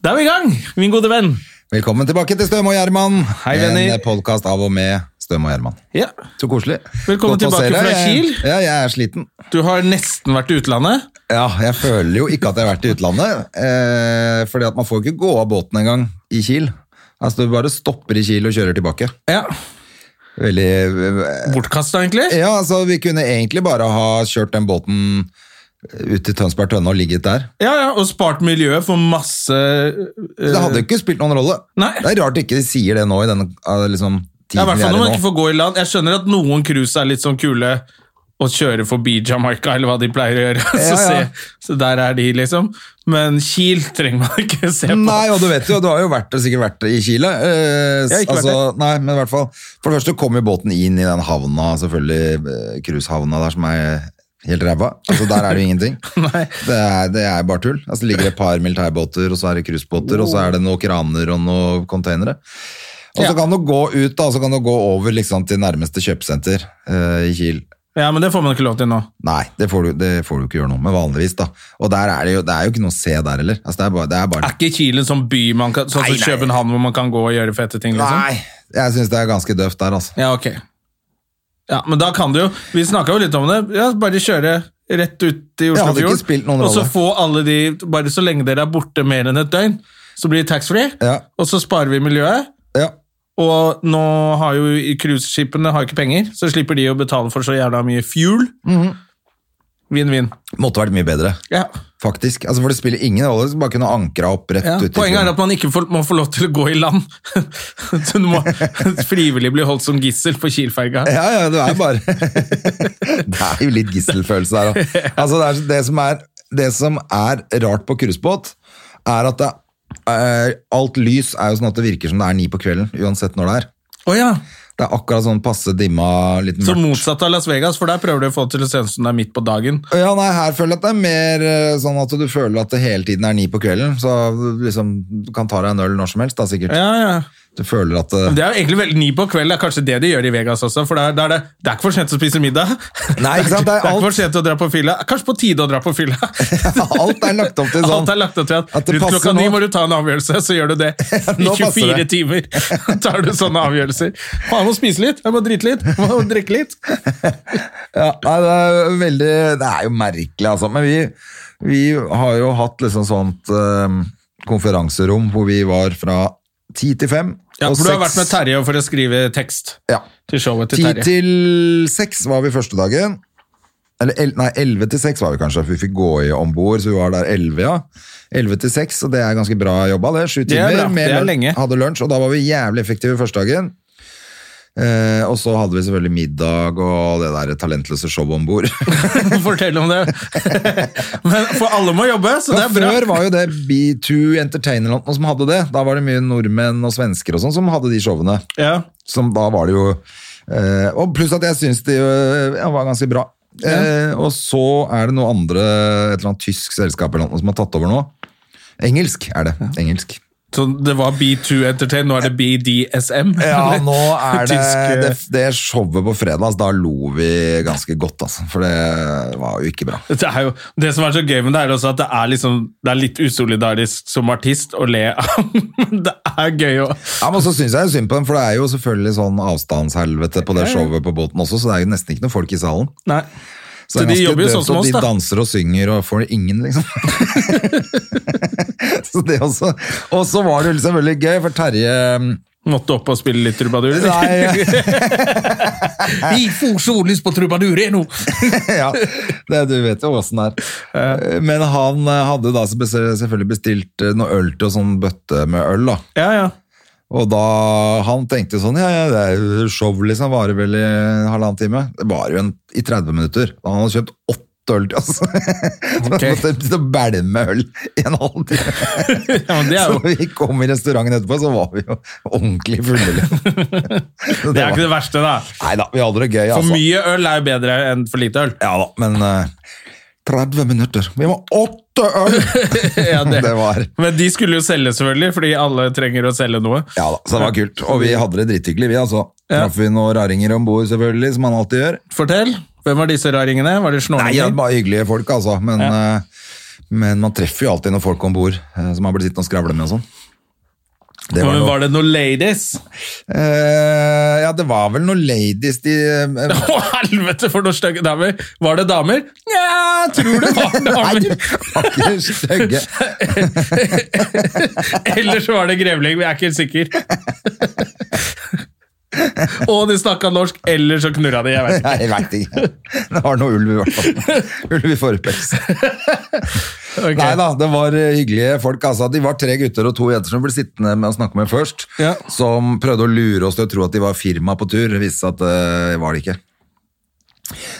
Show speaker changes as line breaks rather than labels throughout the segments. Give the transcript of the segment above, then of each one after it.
Da er vi i gang, min gode venn.
Velkommen tilbake til Støm og Gjerman.
Hei, venner.
En podkast av og med Støm og Gjerman.
Ja.
Så koselig.
Velkommen
Godt å se
tilbake
deg.
fra
Jeg-
Kiel.
Ja, jeg er sliten.
Du har nesten vært i utlandet.
Ja, jeg føler jo ikke at jeg har vært i utlandet. Eh, fordi at man får ikke gå av båten engang i Kiel. Altså, du bare stopper i Kiel og kjører tilbake.
Ja.
Veldig... eh,
Bortkasta, egentlig.
Ja, altså, vi kunne egentlig bare ha kjørt den båten eh, ut til Tønsberg Tønne og ligget der.
Ja, ja, Og spart miljøet for masse
Det
eh,
hadde jo ikke spilt noen rolle.
Nei.
Det er rart ikke de sier det nå i denne eh, liksom,
Ja, i
tiden
hvert
vi
fall
er
når
i
man
nå.
ikke får gå i land. Jeg skjønner at noen cruise er litt sånn kule å kjøre forbi Jamaica, eller hva de pleier å gjøre. Så,
Ja, ja.
Se, så der er de, liksom. Men Kiel trenger man ikke se på.
Nei, og du vet jo, du har jo vært, sikkert vært i Chile. Eh,
Jeg har ikke vært
altså, Nei, men i hvert fall. For det første kom jo båten inn i den havna, selvfølgelig eh, cruisehavna der som er helt ræva. Altså, der er det jo ingenting.
Nei.
Det er, det er bare tull. Altså, det ligger et par militærbåter, og så er det cruisebåter, og så er det noen kraner og noen containere. Og så
Ja.
kan du gå ut da, så kan du gå over liksom, til nærmeste kjøpesenter eh, i Kiel.
Ja, men det får man ikke lov til nå.
Nei, det får, du, det får du ikke gjøre noe med vanligvis da. Og der er det jo, det er jo ikke noe å se der heller. Altså, det er bare, det er bare
Er ikke Kiel en sånn by man kan, sånn
Nei,
som
nei.
København, hvor man kan gå og gjøre fete ting? liksom?
Nei, jeg syns det er ganske døvt der, altså.
Ja, ok. Ja, men da kan du jo Vi snakka jo litt om det. Ja, bare kjøre rett ut i
hadde ikke
Oslofjorden.
spilt noen
Og så
rolle.
få alle de Bare så lenge dere er borte mer enn et døgn, så blir det taxfree.
Ja.
Og så sparer vi miljøet.
Ja,
Og nå har jo cruiseskipene har ikke penger, så slipper de å betale for så jævla mye fuel.
Mhm.
Vinn-vinn.
Måtte vært mye bedre,
Ja.
faktisk. Altså, for det spiller ingen rolle, så bare kunne ankra opp rett
Ja.
ut. i
Poenget er
fjorden.
at man ikke får, må få lov til å gå i land. så du må frivillig bli holdt som gissel på Kielferga.
Ja, ja, det er bare Det er jo litt gisselfølelse der òg. Altså, det, er- det, som er- det som er rart på cruisebåt, er at det er, alt lys er jo sånn at det virker som det er ni på kvelden, uansett når det er.
Å ja.
Det er akkurat sånn passe dimma, litt
Så
mørkt.
motsatt av Las Vegas, for der prøver du å få det til å se ut som det er midt på dagen.
Ja, nei, her føler jeg at det er mer eh, sånn at du føler at det hele tiden er ni på kvelden, så liksom, du kan ta deg en øl når som helst, da, sikkert.
Ja, ja.
Du føler at eh,
Det er jo egentlig veldig ni på kveld, det er kanskje det de gjør i Vegas også, for der, der er det, det er ikke for sent å spise middag.
Nei, ikke
Det
sant,
er
det er
ikke
alt,
for sent å dra på fylla. Kanskje på tide å dra på fylla.
alt er lagt opp til sånn.
Alt er lagt opp til at,
At det
rundt
passer
klokka ni
nå.
må du ta en avgjørelse, så gjør du det. I
nå passer
24
det.
timer tar du sånne avgjørelser. Faen, jeg må spise litt, jeg må drite litt, jeg må drikke litt.
Ja, nei, det er veldig Det er jo merkelig, altså. Men vi, vi har jo hatt liksom sånt eh, konferanserom hvor vi var fra ti til fem.
Ja,
og
for du har
seks-
vært med Terje for å skrive tekst
Ja.
til showet til
Ti
Terje.
til seks var vi første dagen. Eller el, nei, elleve til seks var vi kanskje, for vi fikk gå i om bord, så vi var der elleve, ja. Elleve til seks, og det er ganske bra jobba, det. Sju
Det er
timer.
bra,
med
det er
lun-
lenge.
Hadde lunsj, og da var vi jævlig effektive første dagen. Eh, og så hadde vi selvfølgelig middag og det der talentløse showet om bord.
Fortell om det. Men for alle må jobbe, så det
Ja,
er bra.
Før var jo det B2 Entertainer eller noe som hadde det. Da var det mye nordmenn og svensker og sånn som hadde de showene.
Ja.
Som da var det jo eh, Og pluss at jeg syns de eh, ja, var ganske bra. Eh, og så er det noe andre, et eller annet tysk selskap eller noe som har tatt over nå. Engelsk er det. Engelsk.
Så det var B2 Entertain, nå er det BDSM?
Ja, nå er det,
Tysk,
det Det showet på fredag, altså, da lo vi ganske godt, altså. For det var jo ikke bra.
Det, er jo, det som er så gøy med det, er også at det er, liksom, det er litt usolidarisk som artist å le av. Men det er gøy å
Ja, men så synes jeg jo synd på dem, for det er jo selvfølgelig sånn avstandshelvete på det showet på båten også, så det er jo nesten ikke noen folk i salen.
Nei. Så
det er
de
ganske
jobber jo
døvt
sånn som
at
oss, da.
De danser og synger og får ingen, liksom. så det også. Og så var det jo selvfølgelig gøy, for Terje um,
Måtte opp og spille litt trubadur.
Nei,
Vi får sollys på trubadur ennå!
ja, det, du vet jo åssen det er. Men han eh, hadde da spe- selvfølgelig bestilt eh, noe øl til og sånn bøtte med øl, da.
Ja, ja.
Og da han tenkte sånn, ja, ja, det er jo show liksom, varer vel i halvannen time. Det var jo en, i 30 minutter. Han hadde kjøpt åtte øl til oss. Så
Ok.
jeg måtte sitte og bælme øl i en halvtime.
Ja, men det er jo
Så vi kom i restauranten etterpå, så var vi jo ordentlig fulle. liksom. Så
det er ikke
var-
det verste, da.
Nei da, vi hadde det gøy.
For
altså.
mye øl er jo bedre enn for lite øl.
Ja da, men eh, 30 minutter. Vi må åtte øl!
Ja, det-
det var
Men de skulle jo selge, selvfølgelig, fordi alle trenger å selge noe.
Ja da, så det var kult. Og vi hadde det drithyggelig, vi altså.
Ja.
Traff vi noen raringer om bord, selvfølgelig, som man alltid gjør.
Fortell. Hvem var disse raringene? Var det
Nei, ja,
snorringer?
bare hyggelige folk, altså. Men, eh, men man treffer jo alltid noen folk om bord eh, som har blitt sittende og skravle med og sånn. Det
Men
noe-
var det noen ladies?
Eh, ja, det var vel noen ladies de eh,
Å, helvete, for noen stygge damer! Var det damer? Nja, jeg tror det var
Nei,
damer.
du var ikke stygge.
Eller så var det grevling, men jeg er ikke helt sikker. Og de snakka norsk, eller så knurra de. jeg vet ikke.
Nei, jeg veit ikke. Det var noe ulv i hvert fall. Ulv i forpels.
Ok.
Nei da, det var eh, hyggelige folk. Altså, de var tre gutter og to jenter som ble sittende med å snakke med først.
Ja.
Som prøvde å lure oss til å tro at de var firma på tur. Det viste seg at det var det ikke.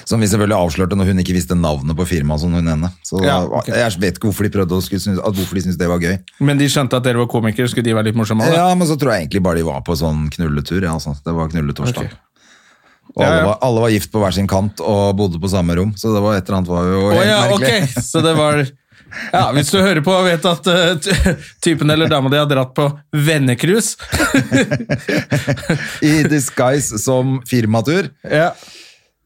Som vi selvfølgelig avslørte når hun ikke visste navnet på firmaet som hun ene. Så
Ja, ok.
Jeg vet ikke hvorfor de prøvde å skulle synes, at hvorfor de syntes det var gøy.
Men de skjønte at dere var komikere, skulle de være litt morsomme? da?
Ja, men så tror jeg egentlig bare de var på sånn knulletur. Ja, altså. Det var knulletorsdag.
Ok.
Og
Ja, ja.
alle var, alle var gift på hver sin kant og bodde på samme rom, så det var et eller annet var jo
Å
helt
ja,
merkelig.
ok. Så det var ja, Hvis du hører på og vet at eh, ty- typen eller dama di har dratt på vennecruise
I disguise som firmatur,
ja.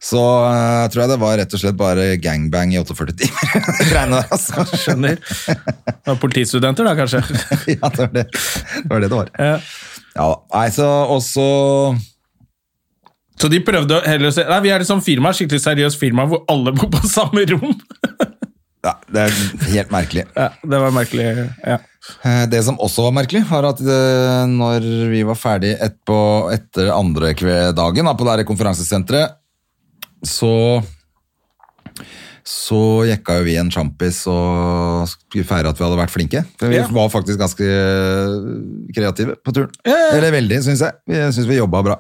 så eh, tror jeg det var rett og slett bare gangbang i 48 timer. Det greiene der, altså.
Skjønner. Det var politistudenter, da, kanskje.
Ja, det var det det var. Det det var.
Ja.
Ja, nei, så også
Så de prøvde å heller å se Nei, vi er liksom firma, skikkelig seriøst firma hvor alle bor på samme rom.
ja, Det er helt merkelig.
Ja, det var merkelig. Ja.
Eh, Det som også var merkelig, var at eh, når vi var ferdig etterpå, etter andre kve- dagen da, på det her konferansesenteret, så så jekka jo vi en sjampis og skulle feire at vi hadde vært flinke. For vi
Ja.
var faktisk ganske eh, kreative på turen.
ja, ja.
Eller veldig, syns jeg. Vi syns vi jobba bra.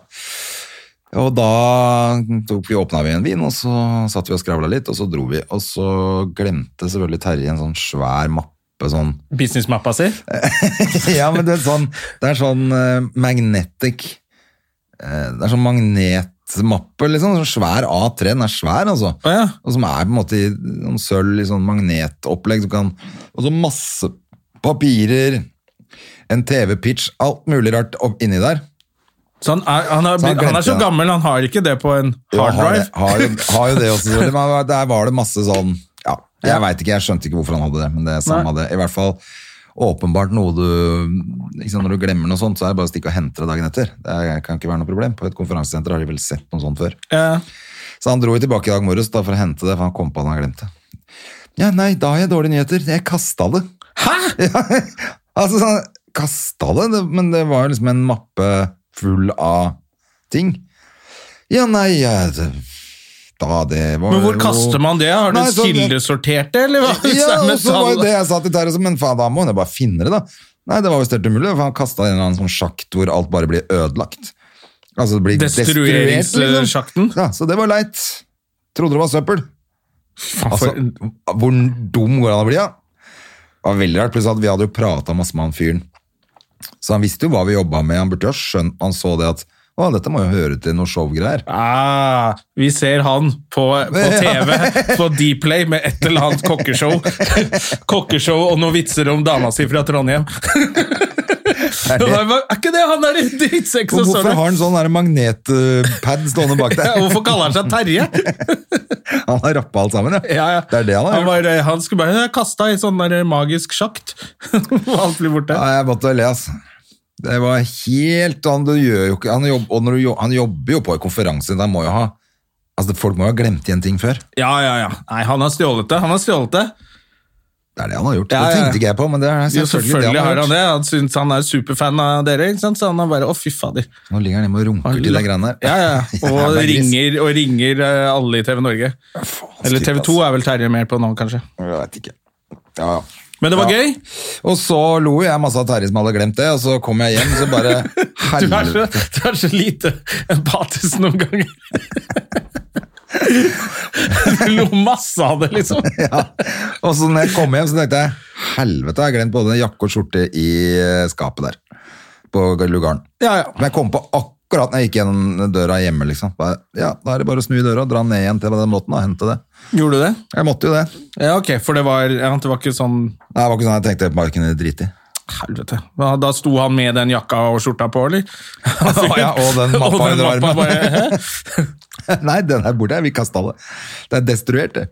Og da tok vi, åpna vi en vin, og så satt vi og skravla litt, og så dro vi. Og så glemte selvfølgelig Terje en sånn svær mappe sånn
Businessmappa si.
ja, men det er sånn, det er sånn eh, magnetic eh, Det er sånn magnetmappe, liksom. Sånn svær A3. Den er svær, altså.
Å ja.
Og som er på en måte i noen sølv i sånn magnetopplegg. som kan- Og så masse papirer, en TV-pitch, alt mulig rart opp, inni der.
Så han er, han, er,
Så han
han, er så
glemte det.
gammel, han har ikke det på en
Jo,
hard
har, det,
drive.
har, jo- har jo det også, selvfølgelig. Men der var det masse sånn ja, Jeg vet ikke, jeg skjønte ikke hvorfor han hadde det, men det er samme det. I hvert fall åpenbart noe du liksom, Når du glemmer noe sånt, så er det bare å stikke og hente det dagen etter. Det er- kan ikke være noe problem. På et konferansesenter har de vel sett noe sånt før.
Ja.
Så han dro jo tilbake i dag morges da, for å hente det, for han kom på at han hadde glemt det. Ja, nei, da har jeg dårlige nyheter. Jeg kasta det.
Hæ?!
Altså, sånn, kasta det, det, men det var jo liksom en mappe full av ting. Ja, nei, ja, det, da det var
Men hvor
jo-
kaster man det? Har du
Nei, så-
kildesortert det, eller hva?
Ja,
Samme
og så var jo
tall.
det jeg sa til Terje, så, men faen, da må hun jo bare finne det, da. Nei, det var jo sterkt umulig, for han kasta en eller annen sånn sjakt hvor alt bare blir ødelagt. Altså, det blir destruert,
eh,
liksom.
Destrueringssjakten.
Ja, så det var leit. Trodde det var søppel. Altså,
For-
hvor dum går han å bli, ja? Det var veldig rart, pluss at vi hadde jo pratet masse med han fyren. Så han visste jo hva vi jobbet med, han burde jo ha skjønt, han så det at, å, dette må jo høre til noe showgreier.
Ah, vi ser han på, på TV på Dplay med et eller annet kokkeshow. Kokkeshow og noen vitser om dama si fra Trondheim. Er, er ikke det han der i drittsekk som
Hvorfor
står der?
har han sånn der magnetpad stående bak
Ja,
der?
Hvorfor kaller han seg Terje?
Han har rappet alt sammen, ja.
Ja, ja.
Det er det han har
han,
gjort.
var, eh, han skulle bare kasta i sånn der magisk sjakt, og alt blir borte.
Ja, jeg måtte le, altså. Det var helt, han, du gjør jo ikke, han, jobb, og når du, jo- han jobber jo på en konferanse, der må jo ha, altså folk må jo ha glemt igjen ting før.
Ja, ja, ja. Nei, han har stjålet det. Han har stjålet det.
Det er det han har
Ja,
gjort, det
ja, ja.
tenkte ikke jeg på, men det er
Jo,
selvfølgelig,
selvfølgelig
det han
har
gjort.
han det. Han syns han er superfan av dere, ikke sant? så han er bare å, fy fader.
Nå ligger han hjemme og runker til de greiene der.
Ja, ja. Og
Jævla gris.
ringer, og ringer eh, alle i TV Norge. Eller TV 2 er vel Terje mer på nå, kanskje.
Jeg vet ikke. Ja, ja.
Men det var
Ja.
gøy!
Og så lo jeg masse av Terje som hadde glemt det, og så kom jeg hjem, så bare
Du er så,
helvete.
du er så lite empatisk noen ganger. Du lo masse av det, liksom.
Og så når jeg kom hjem, så tenkte jeg helvete, jeg har glemt både jakke og skjorte i eh, skapet der. På lugaren.
Ja, ja.
Men jeg kom på akkurat når jeg gikk gjennom døra hjemme, liksom. Bare, ja, da er det bare å snu i døra og dra ned igjen til den båten og hente det.
Gjorde du det?
Jeg måtte jo det.
Ja, ok, for det var, ja, det var ikke sånn
Nei, det var ikke sånn jeg tenkte marken er drit i.
Helvete. Da, da sto han med den jakka og skjorta på, eller?
Ja, og den mappa under armen.
bare, hæ?
Nei, den her borte, jeg vil kaste alle. Det er destruert, det.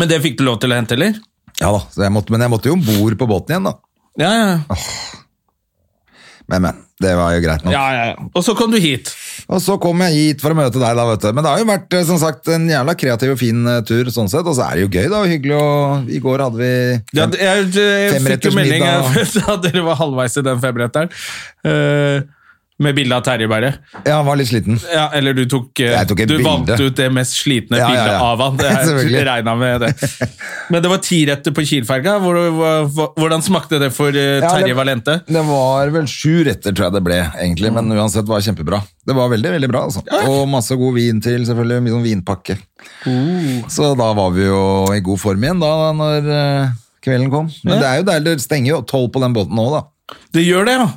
Men det fikk du lov til å hente, eller?
Ja da, så jeg måtte, men jeg måtte jo om bord på båten igjen, da.
Ja, ja.
Men, men. Det var jo greit nok.
ja, ja, ja. Og så kom du hit.
Og så kom jeg hit for å møte deg, da, vet du. Men det har jo vært eh, som sagt, en jævla kreativ og fin eh, tur, sånn sett. Og så er det jo gøy, da. og Hyggelig. Og i går hadde vi
Ja, det- jeg, jeg fikk jo
Femretters
melding
middag.
at dere var halvveis i den femretteren. eh, med bilde av Terje Berre.
Ja, han var litt sliten.
Ja, eller du tok, eh,
Jeg tok et
Du
bilde.
vant ut det mest slitne
Ja, ja, ja.
bildet av han. Det
Selvfølgelig.
er- regna med det. Men det var tiretter på Kiel-ferga. Hvor- hvor- hvor- Hvordan smakte det for eh,
Ja,
Terje
det-
Valente? Mm.
Det var vel sju retter, tror jeg det ble, egentlig. Men uansett var det kjempebra. Det var veldig, veldig bra, altså. Og masse god vin til, selvfølgelig. Mye sånn vinpakke. Så da var vi jo i god form igjen, da, når eh, kvelden kom. Men
Ja.
det er jo deilig. Det stenger jo tolv på den båten nå, da.
Det gjør det, ja!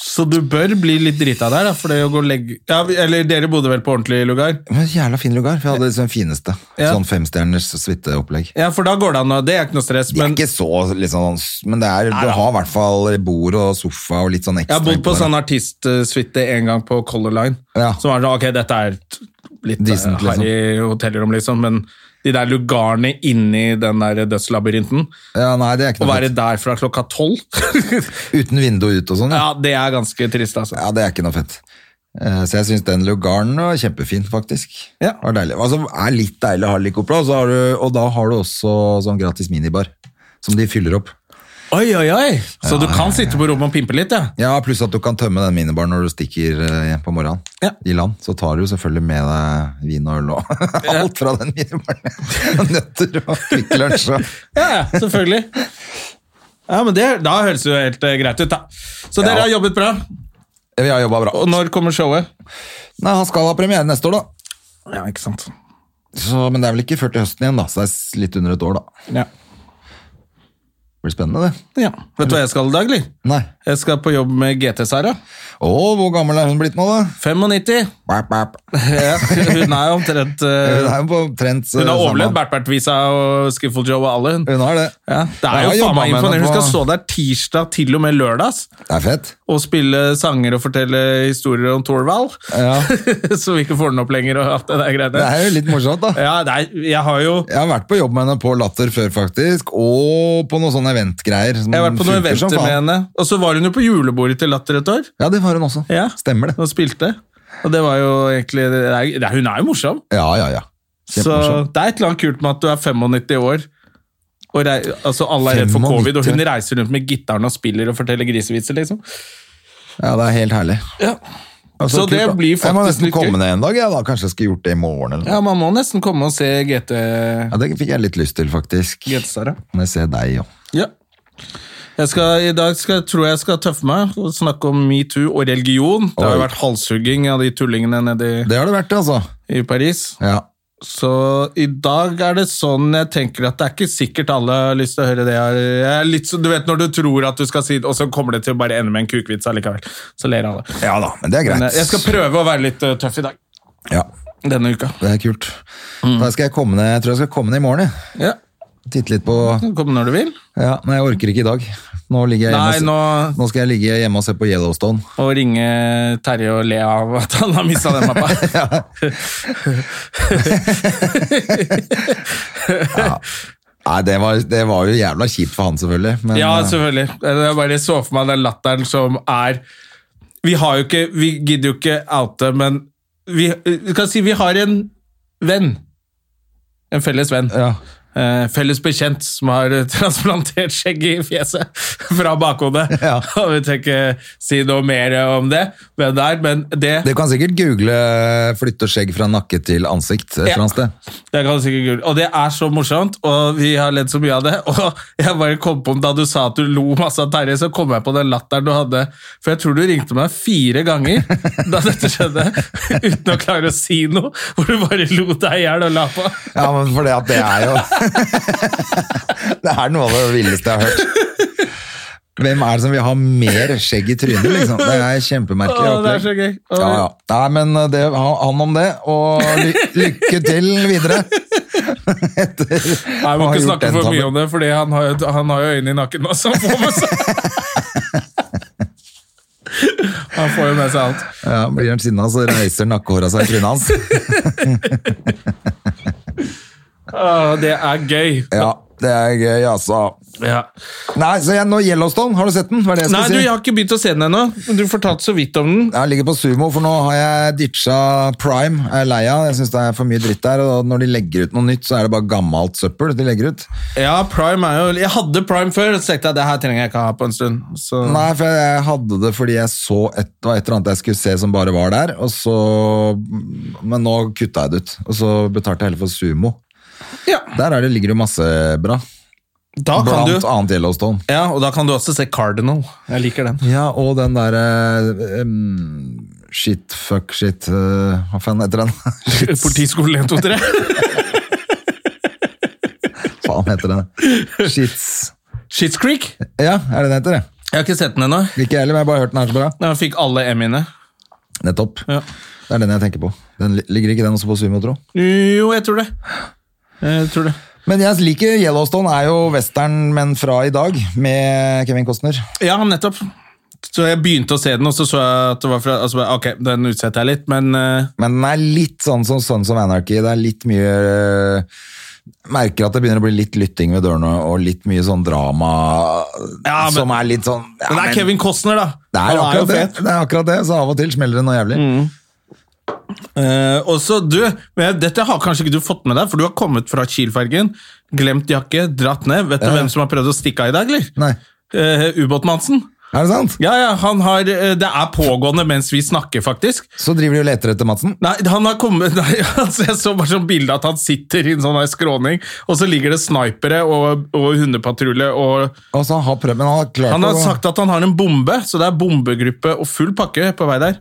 Så du bør bli litt drita der, da, for det å gå og legge ja, Eller dere bodde vel på ordentlig lugar?
Men Jævla fin lugar. For jeg hadde liksom den fineste.
Ja.
Sånn femstjerners suiteopplegg.
Ja, for da går det an å Det er ikke noe stress.
Det er
Men
ikke så liksom, Men det er, du
da.
har i hvert fall bord og sofa og litt sånn
jeg
ekstra.
har bodd på
innpå der.
sånn artistsuite en gang på Color Line.
Ja.
Som var sånn, ok, dette er et litt
Decent,
eh, harry hotellrom, liksom, men de der lugarene inni den der dødslabyrinten
Ja, nei, det er ikke
Å
noe
være der fra klokka tolv
fett. Uten vindu ut og sånn. Ja.
Ja, det er ganske trist, altså.
ja, det er ikke noe fett. Eh, Så jeg syns den lugaren var kjempefin, faktisk.
Ja.
Det var deilig. Altså, det er litt deilig å ha litt Copla, og så har du, og da har du også sånn gratis minibar. Som de fyller opp.
Oi, oi, oi! Så du kan sitte på rommet og pimpe litt, ja?
Ja, Pluss at du kan tømme den minibaren når du stikker eh, på morgenen.
Ja.
I land. Så tar du jo selvfølgelig med deg vin og øl og alt fra den minibaren. Og Nøtter og Kvikk Lunsj og
Ja, ja, selvfølgelig. Ja, men det, Da høres det jo helt eh, greit ut, da. Så dere
Ja.
har jobbet bra.
Vi har jobba bra.
Og når kommer showet?
Nei, Han skal ha premiere neste år, da.
Ja, ikke sant.
Så, men det er vel ikke før til høsten igjen, da. Så det er s- litt under et år, da.
Ja.
Det blir spennende, det.
ja. Vet du hva jeg skal i dag, eller?
Nei.
Jeg skal på jobb med GT-Sara.
Å, hvor gammel er hun blitt nå, da?
95.
Bap, bap.
Ja, hun er omtrent
Hun
eh,
er jo på omtrent eh,
Hun har
samme-
overlevd Bert-Bert-visa og Skiffle Joe og alle, hun.
Hun har det.
Ja, det er
Jeg
jo
har
faen
jobbet
meg
med henne
imponerende. Hun skal
på-
stå der tirsdag til og med lørdag ass,
Det er fett.
og spille sanger og fortelle historier om Thorvald.
Ja.
så vi ikke får den opp lenger og alt det der greiene.
Det er jo litt morsomt, da.
Ja, det er, jeg har jo
Jeg har vært på jobb med henne på Latter før, faktisk. Og på noen sånne eventgreier. som
jeg har vært på noen
funker som
eventer med
faen.
henne, og så var hun jo på julebordet til Latter et år.
Ja, det var hun også.
Ja,
Stemmer det.
Og spilte. Og det var jo egentlig det er, det er, Hun er jo morsom.
Ja, ja, ja.
Så det er et eller annet kult med at du er 95 år, og rei, altså alle er redd for covid, og hun
95.
reiser rundt med gitaren og spiller og forteller grisevitser, liksom.
Ja, det er helt herlig.
Ja.
Ja,
Så
kult,
det
da.
blir
Jeg må
faktisk
nesten
litt gøy.
komme ned en dag, jeg, da. Kanskje jeg skulle gjort det i morgen eller noe.
Ja, man må nesten komme og se GT,
Ja, det fikk jeg litt lyst til, faktisk.
GT-Sara.
Når jeg ser deg, jo.
Ja. Jeg skal, I dag skal, tror jeg jeg skal tøffe meg og snakke om metoo og religion. Det har jo
Oi.
vært halshugging av de tullingene nede i,
Det har det vært, altså.
i Paris.
Ja.
Så i dag er det sånn jeg tenker at det er ikke sikkert alle har lyst til å høre det. her. Jeg er litt, så- du vet når du tror at du skal si det, og så kommer det til å bare ende med en kukvits allikevel. Så ler alle.
ja da, men det er greit.
Men eh, jeg skal prøve å være litt eh, tøff i dag.
Ja,
Denne uka.
det er kult.
Mm.
Da skal jeg komme ned, jeg tror jeg skal komme ned i morgen, jeg.
Ja,
Titte litt på
Kom når du vil.
Ja, nei, jeg orker ikke i dag. Nå ligger jeg hjemme
Nei,
og se-
nå
nå skal jeg ligge hjemme og se på Yellowstone.
Og ringe Terje og le av at han har mista den mappa.
Nei, det var, det var jo jævla kjipt for han, selvfølgelig. Men,
Ja,
eh,
selvfølgelig. Jeg bare så for meg den latteren som er Vi har jo ikke Vi gidder jo ikke oute, men vi, vi kan si vi har en venn. En felles venn.
ja.
eh, felles bekjent som har eh, transplantert skjegget i fjeset fra bakhodet.
Ja.
Og vi tenker si noe mer om det, men, der, men det,
Du kan sikkert google eh, 'flytte skjegg fra nakke til ansikt'
Ja.
et eller annet sted.
Det er ganske kult. Og det er så morsomt, og vi har ledd så mye av det. Og jeg bare kom på Da du sa at du lo masse av Terje, så kom jeg på den latteren du hadde. For jeg tror du ringte meg fire ganger da dette skjedde, uten å klare å si noe. Hvor du bare lo deg i hjel og la på.
Ja, men for det at det er jo Det er noe av det villeste jeg har hørt. Hvem er det som vil ha mer skjegg i trynet, liksom? Det er kjempemerkelig.
Å, det er så
opplegg.
gøy. Å,
Ja, ja. Nei, men eh, det, han han om det, og ly lykke til videre. Etter
Nei,
å
må
ha
ikke
gjort
snakke
den
for
tabben.
mye om det, for han, har jo- han har jo øynene i nakken nå, så han får med seg Han får jo med seg alt.
Ja, blir han sinna, så reiser nakkehåra seg i trynet hans.
Å, det er gøy.
Ja, det er gøy, altså.
Ja.
Nei, så jeg, nå Yellowstone, har du sett den? Hva er det jeg
Nei, du,
skal si?
jeg har ikke begynt å se den ennå. men Du fortalte så vidt om den.
Jeg ligger på sumo, for nå har jeg ditcha Prime. Jeg er lei av det. Jeg syns det er for mye dritt der. Og når de legger ut noe nytt, så er det bare gammelt søppel de legger ut.
Ja, Prime er jo Jeg hadde Prime før, og så tenkte jeg det her trenger jeg ikke ha på en stund. Så
Nei, for jeg hadde det fordi jeg så et, det var et eller annet jeg skulle se som bare var der, og så Men nå kutta jeg det ut. Og så betalte jeg heller for sumo.
ja,
Der er det, ligger det jo masse bra.
da Ah, kan
Blant
du
annet Yellowstone.
Ja, og da kan du også se Cardinal. Jeg liker den.
Ja, og den derre Shit, fuck, shit eh, Hva faen heter den? Shit,
Politiskolen 123.
faen heter den. Shits
Shits Creek.
Ja, er det den heter, det?
Jeg har ikke sett den ennå.
Ikke jeg heller, men jeg har bare hørt den er så bra.
Jeg fikk alle M-ene.
Nettopp.
Ja.
Det er den jeg tenker på. Den li- Ligger ikke den også på sumo, tro?
Jo, jeg tror det. Jeg tror det.
Men jeg liker Yellowstone er jo western, men fra i dag, med Kevin Costner.
Ja, nettopp. Så jeg begynte å se den, og så så jeg at det var fra altså, bare, Ok, den utsetter jeg litt, men eh,
Men den er litt sånn som Sons of Anarchy. Det er litt mye øh, Merker at det begynner å bli litt lytting ved dørene, og litt mye sånn drama
Ja, men-
som er litt sånn
Men
ja,
det er
men-
Kevin Costner, da.
Det er,
Han jo
akkurat det.
fet. Mm.
det er akkurat det, så av og til smeller det noe jævlig.
Eh, og så du, men Dette har kanskje ikke du fått med deg, for du har kommet fra Kiel-fergen. Glemt jakke, dratt ned. Vet du hvem som har prøvd å stikke av i dag, eller?
Nei,
Eh, Ubåt-Mansen.
Er det sant?
Ja, ja, han har eh, Det er pågående mens vi snakker, faktisk.
Så driver de og leter etter Madsen.
Nei, han har kommet nei, altså Jeg så bare sånn bilde at han sitter i en sånn her skråning, og så ligger det snipere og, og hundepatrulje og
Og så Altså, han har prøvd, men han har klart
Han har
å-
sagt at han har en bombe, så det er bombegruppe og full pakke på vei der.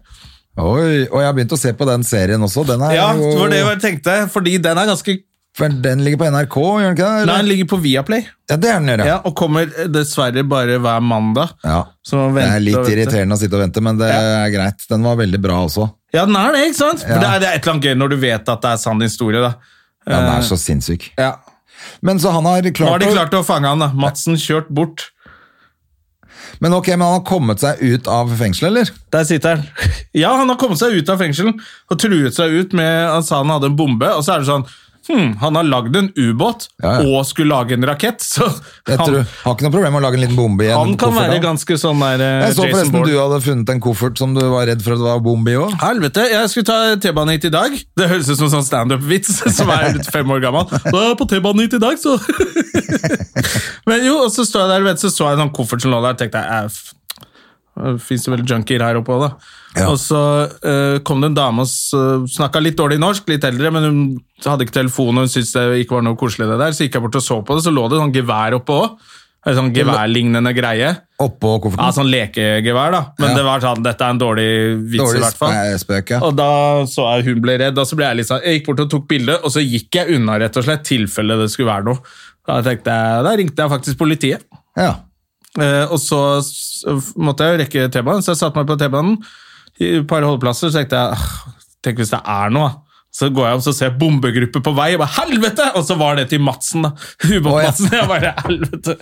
Oi, og jeg har begynt å se på den serien også. Den er
Ja,
jo
det var det jeg tenkte, fordi den er ganske
For den ligger på NRK, gjør den ikke det?
Nei,
eller?
den ligger på Viaplay.
Ja, det er den gjør,
Ja,
ja.
og kommer dessverre bare hver mandag.
ja.
Så man
Det
venter
er
og
litt
venter.
irriterende å sitte og vente, men det
Ja.
er greit. Den var veldig bra også.
Ja, den er det, ikke sant? For
Ja.
det, er, det er et eller annet gøy når du vet at det er sann historie, da.
Ja, den er så sinnssyk.
Eh. Ja.
Men så han har
Nå har
klart,
de
å-
klart å fange han, da. Madsen kjørt bort.
Men ok, men han har kommet seg ut av fengselet, eller?
Der sitter han. Ja, han har kommet seg ut av fengselen og truet seg ut med Han sa han hadde en bombe, og så er det sånn Hm, han har lagd en ubåt
Ja, ja.
og skulle lage en rakett, så
Jeg
han,
tror, har ikke noe problem med å lage en liten bombe i en
han kan
koffert,
være
da.
ganske sånn der eh,
Jeg så
Jason
forresten
Bourne.
du hadde funnet en koffert som du var redd for at det var bombe i òg.
Helvete, jeg skulle ta T-banen hit i dag. Det høres ut som en sånn standup-vits som er litt fem år gammel. Da er jeg på T-banen hit i dag, så Men jo, og så står jeg der, vet, du, så så jeg en sånn koffert som lå der, og tenkte jeg "Æff, det Fins jo vel junkier her oppe òg, da.
Ja.
Og så eh, kom det en dame og uh, snakka litt dårlig norsk, litt eldre, men hun hadde ikke telefon og hun syntes det ikke var noe koselig, det der. Så gikk jeg bort og så på det, så lå det sånn gevær oppe òg. Sånn geværlignende greie.
Oppå kofferten.
Ja, sånn lekegevær, da. Men
Ja.
det var sånn, dette er en dårlig vits, i
Dårlig
hvert fall.
spe- spøk, ja.
Og da så jeg hun ble redd, og så ble jeg litt sånn Jeg gikk bort og tok bilde, og så gikk jeg unna, rett og slett, tilfelle det skulle være noe. Da tenkte jeg, da ringte jeg faktisk politiet.
ja.
Eh, og så s- måtte jeg jo rekke T-banen, så jeg satte meg på T-banen. I et par holdeplasser så tenkte jeg "Ah, Tenk hvis det er noe, da. Så går jeg opp og ser bombegruppe på vei, og bare helvete! Og så var det til Madsen, da. Ubåt-Madsen. Jeg bare helvete.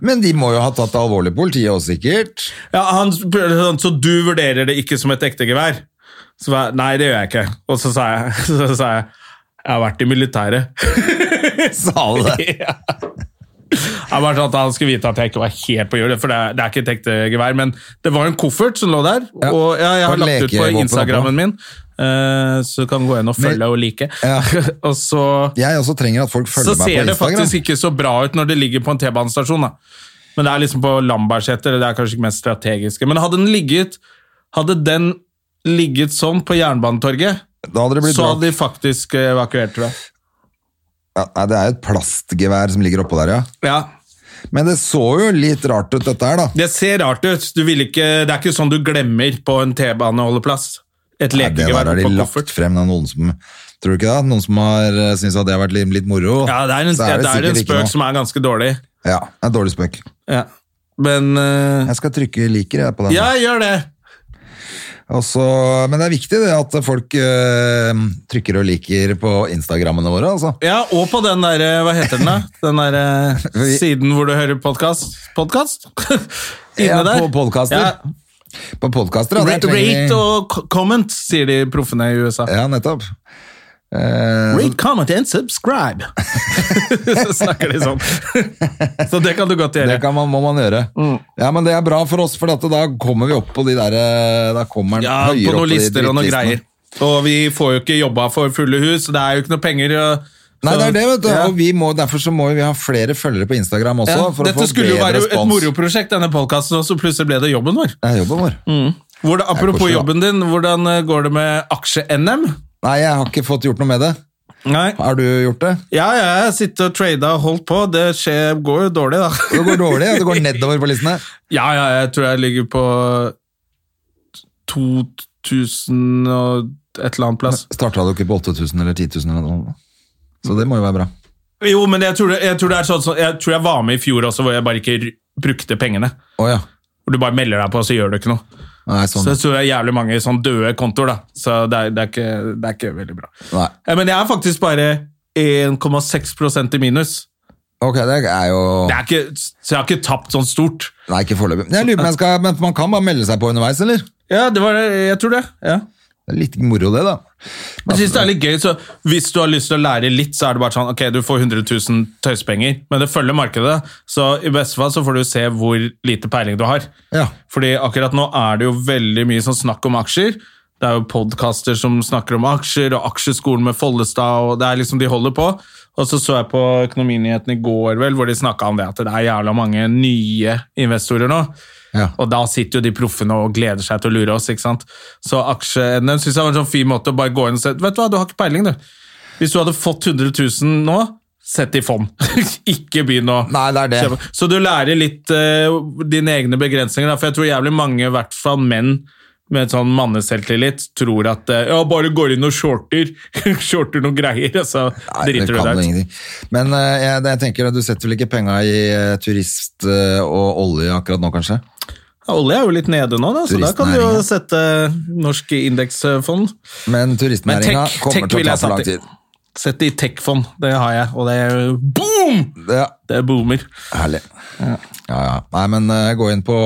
Men de må jo ha tatt det alvorlig, politiet også, sikkert.
Ja, han spurte sånn, Så du vurderer det ikke som et ekte gevær? Så var jeg, Nei, det gjør jeg ikke. Og så sa jeg, så sa jeg jeg har vært i militæret.
Sa du det?
Ja. Jeg bare sånn at Han skulle vite at jeg ikke var helt på jordet, for det er, det er ikke et ekte gevær. Men det var en koffert som lå der,
Ja.
og ja, jeg
Og
har lagt ut på
lekevåpen oppå.
Instagrammen min. Eh, så du kan gå inn og følge
Men-
og like.
Ja.
og så,
Jeg også trenger at folk
så
følger meg
ser
på
det
Instagram.
faktisk ikke så bra ut når det ligger på en T-banestasjon. da. Men det er liksom på Lambertseter, det er kanskje ikke mest strategiske. Men hadde den ligget, hadde den ligget sånn på Jernbanetorget,
Da hadde det blitt
så
bra.
hadde de faktisk eh, evakuert, tror jeg.
Ja, nei, det er jo et plastgevær som ligger oppå der, ja.
Ja,
Men det så jo litt rart ut, dette her, da.
Det ser rart ut. Du vil ikke, det er ikke sånn du glemmer på en T-baneholdeplass. Et
Nei, det der
lekegevær
har de
på
lagt
koffert.
frem av noen som Tror du ikke det? Noen som har eh, syntes at det har vært litt, litt moro?
Ja, det er en, det
Så
er
sikkert
en
ikke noe-
spøk som er ganske dårlig.
Ja, det er en dårlig spøk.
Ja. Men eh,
Jeg skal trykke liker jeg på den.
Ja, gjør det!
Og så- men det er viktig det at folk eh, trykker og liker på Instagrammene våre, altså.
Ja, Og på den derre Hva heter den, da? Den derre
Vi-
siden hvor du hører podkast? Podkast? Inne
Ja,
der.
på podcaster. På podkaster, ja. der
Rate,
trenger vi-
rate og co- comment, sier de proffene i USA.
Ja, nettopp. Eh,
Rate, comment and subscribe! Så snakker de sånn. Så det kan du godt gjøre.
det kan man, må man gjøre.
Mm.
Ja, men det er bra for oss, for at da kommer vi opp på de der eh, Da kommer den
Ja,
høyere
på
opp
noen
de
lister og noen
drittlistene.
greier. Og vi får jo ikke jobba for fulle hus, så det er jo ikke noe penger. og-
Nei, det er det, vet du.
Ja.
Og vi må, derfor så må vi ha flere følgere på Instagram også.
Ja,
for å
Dette
få
skulle jo
bedre
være et
respons.
moroprosjekt, denne podkasten, og så plutselig ble det jobben vår.
Det er jobben vår.
Mm. Hvor det, apropos
koselig, da.
jobben din, hvordan eh, går det med aksje-NM?
Nei, jeg har ikke fått gjort noe med det.
Nei.
Har du gjort det?
Ja, jeg sitter og trader og holdt på. Det skjer, går jo dårlig, da.
Det går dårlig, og det går nedover på listene.
Ja, ja, jeg tror jeg ligger på 2000 og et eller annet plass.
Starta du ikke på 8000 eller 10 000 eller noe? Så det må jo være bra.
Jo, men jeg tror, det, jeg tror det er sånn som Jeg tror jeg var med i fjor også, hvor jeg bare ikke r- brukte pengene.
Å ja.
Hvor du bare melder deg på, så gjør du ikke noe.
Nei,
Så
sånn.
jeg tror det er jævlig mange sånn døde kontoer, da. Så det er, det er, ikke, det er ikke veldig bra.
Nei.
Eh, Men jeg er faktisk bare 1,6 i minus.
Ok, det er jo
Det er ikke, så jeg har ikke tapt sånn stort.
Nei, ikke foreløpig. Men Jeg lurer på om jeg skal Men man kan bare melde seg på underveis, eller?
Ja, det var, jeg tror det. ja.
Det er litt moro, det, da.
Jeg synes det er litt gøy, så Hvis du har lyst til å lære litt, så er det bare sånn Ok, du får 100 000 tøyspenger, men det følger markedet. Så i beste fall så får du se hvor lite peiling du har.
Ja.
Fordi akkurat nå er det jo veldig mye sånn snakk om aksjer. Det er jo podkaster som snakker om aksjer, og aksjeskolen med Follestad, og det er liksom de holder på. Og så så jeg på Økonominyhetene i går, vel, hvor de snakka om det at det er jævla mange nye investorer nå.
Ja.
Og da sitter jo de proffene og gleder seg til å lure oss, ikke sant. Så aksjeenden syns jeg var en sånn fin måte å bare gå inn og se Vet du hva, du har ikke peiling, du. Hvis du hadde fått 100 000 nå, sett i fond. ikke begynn å
Nei, det er det.
Kjempe- Så du lærer litt eh, dine egne begrensninger, da, for jeg tror jævlig mange, i hvert fall menn, med sånn manneselvtillit, tror at eh, ja, bare går inn og shorter, shorter noen greier, og så
Nei, det
driter du
kan
deg
jo
ut.
ingenting. Men eh, jeg, jeg tenker at du setter vel ikke penga i eh, turist eh, og olje akkurat nå, kanskje?
Ja, Olje er jo litt nede nå, da, så da kan du jo
Turistnæringen.
sette norsk indeksfond.
Men
Men
turistnæringa
tech,
kommer
tech
til
vil
å ta
jeg
for lang
sette i,
tid.
sette i tech-fond. Det har jeg, og det er boom!
Ja,
Det er boomer.
herlig. Ja, ja. Nei, men eh, gå inn på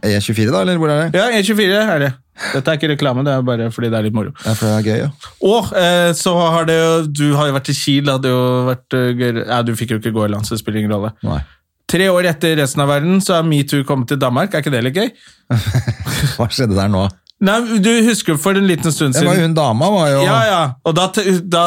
E24, da, eller hvor er det?
Ja, E24 er det. Dette er ikke reklame, det er bare fordi det er litt moro.
Ja, for det er gøy, ja.
Og eh, så har det jo Du har jo vært i Kiel, det hadde jo vært eh, gøy Nei, du fikk jo ikke gå i land, så det spiller ingen rolle.
Nei.
Tre år etter resten av verden så er metoo kommet til Danmark, er ikke det litt gøy?
Hva skjedde der nå?
Nei, du husker for en liten stund
Det var jo
siden
hun dama, var jo
Ja, ja. Og da, t- da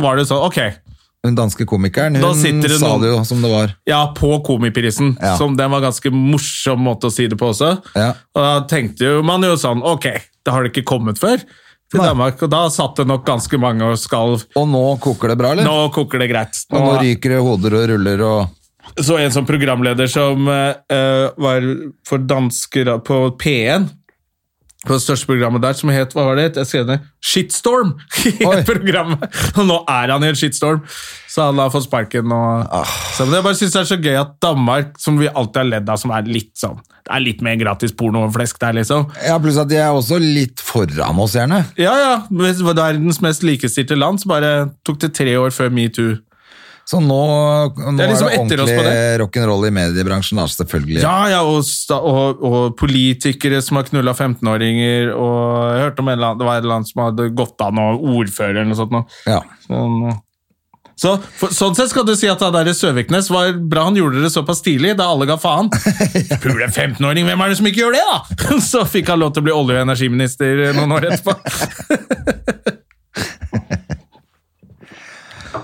var det sånn, ok.
hun danske komikeren.
Da
Hun
sitter det
sa
noen-
det jo som det var.
Ja, på Komiprisen,
Ja.
som den var ganske morsom måte å si det på også.
Ja.
Og da tenkte jo man jo sånn, ok, det har det ikke kommet før til
Nei.
Danmark, og da satt det nok ganske mange og skalv.
Og nå koker det bra, eller?
Nå koker det greit.
Og nå ryker det hoder og ruller og
så en som programleder som eh, eh, var for dansker på P1, på det største programmet der, som het, hva var det? Jeg skrev ned, Shitstorm!
Oi.
I programmet. Og nå er han i en shitstorm, så han har fått sparken. Og,
Ah.
så, men jeg bare synes det er så gøy at Danmark, som vi alltid har ledd av, som er litt sånn, det er litt mer gratis porno og flesk der, liksom.
Ja, pluss at de er også litt foran oss, gjerne.
Ja, ja, hvis det var verdens mest likestilte land, så bare tok det tre år før MeToo.
Så nå, nå
Det er
er,
liksom
det
etter oss på
ordentlig rock'n'roll i mediebransjen, da, selvfølgelig.
Ja, ja, og, sta- og, og politikere som har knulla 15-åringer, og jeg hørte om en eller annen, det var en eller annen som hadde gått an, og ordfører eller noe sånt. nå.
Ja.
Men, eh, Så, for, sånn sett skal du si at han der Søviknes var bra han gjorde det såpass tidlig, da alle ga faen. Pule 15-åring, hvem er det som ikke gjør det, da?! Så fikk han lov til å bli olje- og energiminister eh, noen år etterpå.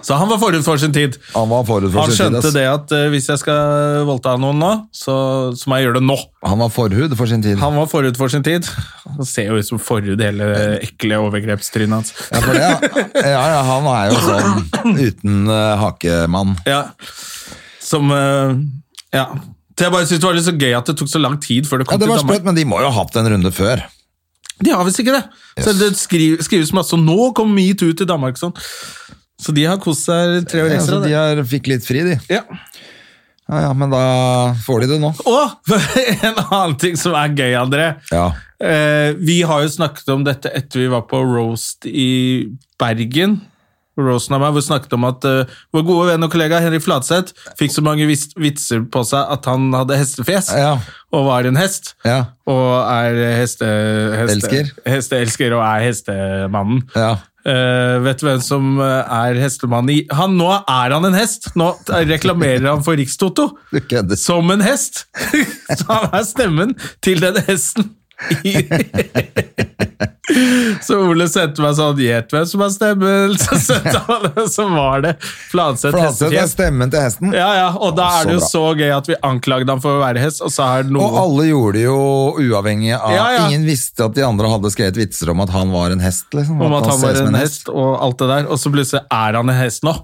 Så han var forut for sin tid.
Han var forut for
Han
sin tid.
skjønte
ass.
det at eh, hvis jeg skal voldta noen nå, så, så må jeg gjøre det nå.
Han var forhud for sin tid.
Han var forut for sin tid. Han ser jo ut som forhud, hele ekle overgrepstrynet hans.
Ja, for det, ja, ja, han er jo sånn uten eh, hakemann.
Ja. Som eh, Ja. Så jeg bare synes det var litt så gøy at det tok så lang tid før det
Ja,
kom
det
til
var
Danmark.
sprøtt, men de må jo ha hatt en runde før.
De har visst ikke det! Så det skrives, skrives masse om nå kom metoo til Danmark. Sånn. Så de har kost seg tre år
Ja,
ekstra.
så de
det.
har, fikk litt fri, de.
Ja.
Ja, ja, men da får de det nå.
Og en annen ting som er gøy, André.
Ja.
Eh, vi har jo snakket om dette etter vi var på roast i Bergen. Roasten av meg, hvor vi snakket om at eh, vår gode venn og kollega Henrik Fladseth fikk så mange vis- vitser på seg at han hadde hestefjes
Ja.
og var en hest.
Ja.
Og er heste, heste,
Elsker.
hesteelsker og er hestemannen.
Ja.
Eh, vet du hvem som eh, er hestemann i han, Nå er han en hest! Nå reklamerer han for Rikstoto
Du kødder.
som en hest! Så han er stemmen til den hesten. i- så Ole sendte meg sånn 'Gjett hvem som er stemmen', så sendte han det, så var det Fladseth
Flatseth er
hestefjes.
stemmen til hesten.
Ja, ja, og da
Å,
er
så
det jo
bra.
så gøy at vi anklagde han for å være hest, og så er det noe
Og alle gjorde det jo uavhengig av
Ja, ja.
Ingen visste at de andre hadde skrevet vitser om at han var en hest. Liksom.
om at han
ser
var
ut som
en hest og alt det der, og så plutselig er han en hest nå.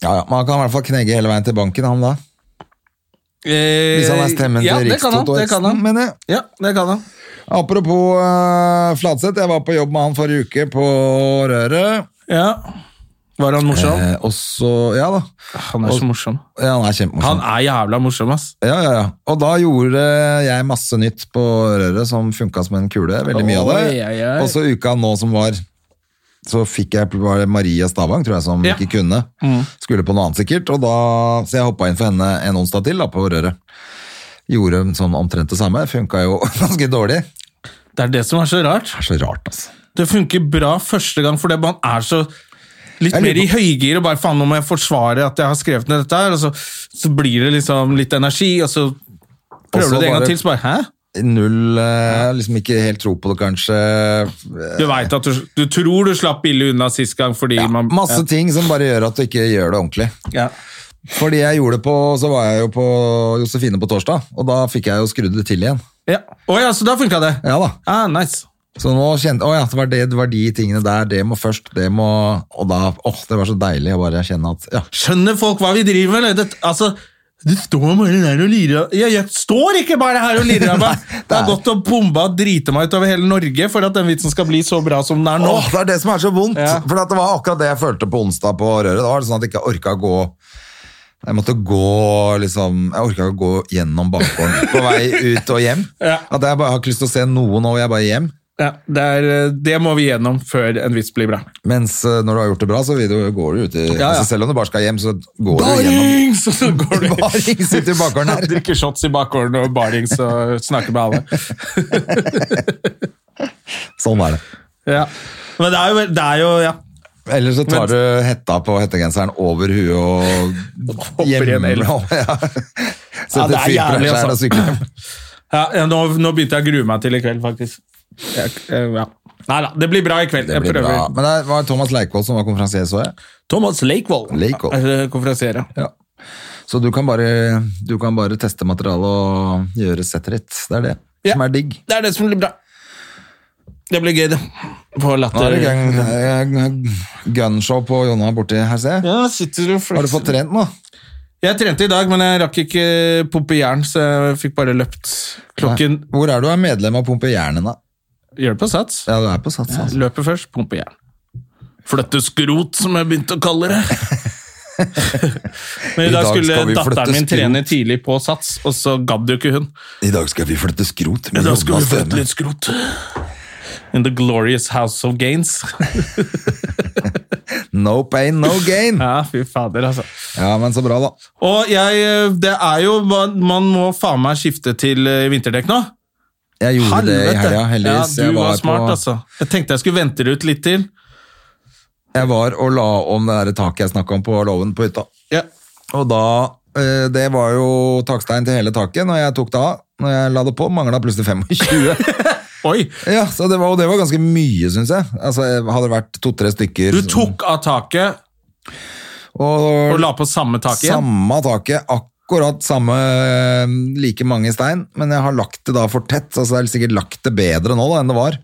Ja, ja. Men han kan i hvert fall knegge hele veien til banken, han da. Hvis han er stemmen
Eh, ja,
til
det kan han,
Rikstoto
det kan
Hesten,
han.
mener jeg.
Ja, det kan han.
Apropos uh, Fladseth, jeg var på jobb med han forrige uke på Røret.
Ja. Var han morsom?
Eh, og så Ja da.
han er så morsom.
Ja, han er kjempemorsom.
Han er jævla morsom, ass.
Ja, ja, ja. Og da gjorde jeg masse nytt på røret som funka som en kule. Veldig mye av det.
Oi, oi, oi.
Og så uka nå som var, så fikk jeg var det Maria Stavang, tror jeg, som
Ja. Mm.
ikke kunne. Skulle på noe annet sikkert. Og da, så jeg hoppa inn for henne en onsdag til da, på røret. Gjorde sånn omtrent det samme. Funka jo ganske dårlig.
Det er det som er så rart.
Det er så rart, altså.
Det funker bra første gang fordi man er så litt
Jeg lurer
mer i høygir og bare faen, nå må jeg forsvare at jeg har skrevet ned dette her, og så, så blir det liksom litt energi, og så prøver
Og så
du det en
bare-
gang til, så bare hæ?
Null eh, Liksom ikke helt tro på det, kanskje.
Du vet at du, du tror du slapp billig unna sist gang fordi man
Masse ting som bare gjør at du ikke gjør det ordentlig.
ja.
Fordi jeg gjorde det på, så var jeg jo på Josefine på torsdag, og da fikk jeg jo skrudd det til igjen.
Ja. Å ja, så da funka det?
Ja da.
Ah, nice.
Så nå kjente Å ja, det var, det, det var de tingene der. Det må først, det må Og da Åh, det var så deilig å bare kjenne at Ja,
Skjønner folk hva vi driver med? eller? Det, altså, du står bare der og lirer av- jeg, jeg står ikke bare her og lirer av meg!
Nei,
Det har
nei.
gått og bomba og driti meg utover hele Norge for at den vitsen skal bli så bra som den er nå.
Åh, det er det som er så vondt!
Ja.
For at det var akkurat det jeg følte på onsdag på Røret. Da var det sånn at jeg ikke orka å gå jeg måtte gå liksom, jeg orka ikke å gå gjennom bakgården på vei ut og hjem.
Ja.
At jeg bare har ikke lyst til å se noen, og jeg bare hjem.
Ja, det, er, eh, det må vi gjennom før en vits blir bra.
Mens eh, når du har gjort det bra, så vil du, går du ut i
ja.
Altså, Selv om du bare skal hjem, så går du gjennom
Og så går du
Baring sitter i bakgården her.
Drikker shots i bakgården og barings og snakker med alle.
Sånn er det.
Ja. Men det er jo, det er jo ja.
Eller så tar du hetta på hettegenseren over huet og
Hopper i en elv.
Ja.
Ja,
Setter
det er
fyr på
jævlig,
deg selv og
altså.
sykler hjem.
Ja, ja, nå, nå begynte jeg å grue meg til i kveld, faktisk. Jeg, eh, ja. Nei da, det blir bra i kveld.
Det
Jeg
blir
prøver.
bra. Men det var Thomas Leikvoll som var konferansier, så jeg.
Thomas Lakevold.
Lakevold.
Er, eh, Konferansier, ja.
Så du kan bare, du kan bare teste materialet og gjøre settet ditt. Det er det
Ja.
som er digg.
Det er det som blir bra. Det blir gøy, det. På
Nå er
latter.
det gang- gunshow på Jonna borti her, ser jeg.
Ja, sitter og
Har du fått trent nå?
Jeg trente i dag, men jeg rakk ikke pumpe jern, så jeg fikk bare løpt klokken
Nei. Hvor er du er medlem av Pumpe Jernet, da?
Gjør det på sats.
Ja, du er på Sats, altså.
Løper først, pumpe jern. Flytte skrot, som jeg begynte å kalle det. Men
I
i dag
dag
skulle
skal vi flytte
datteren min
skrot.
trene tidlig på sats, og så gadd jo ikke hun.
I dag skal vi flytte skrot. med
Da skulle
Jonas
vi flytte
Støme.
litt skrot. In the glorious house of gains.
No pain, no gain.
Ja, fy fader, altså.
Ja, men så bra, da.
Og jeg, eh, det er jo Man man må faen meg skifte til eh, vinterdekk nå.
Jeg gjorde det i helga, heldigvis.
Ja,
Jeg
du var, smart,
på-
altså. Jeg tenkte jeg skulle vente det ut litt til.
Jeg var og la om det der taket jeg snakka om på låven på hytta.
Ja.
Og da eh, Det var jo takstein til hele taket når jeg tok det av. Når jeg la det på, mangla plutselig 25.
Oi!
ja, så det var, Og det var ganske mye, syns jeg. Altså, Hadde det vært to-tre stykker
Du tok av taket
og,
og la på samme tak igjen?
Samme taket, akkurat samme eh, like mange stein, men jeg har lagt det da for tett, så altså jeg har sikkert lagt det bedre nå da enn det var.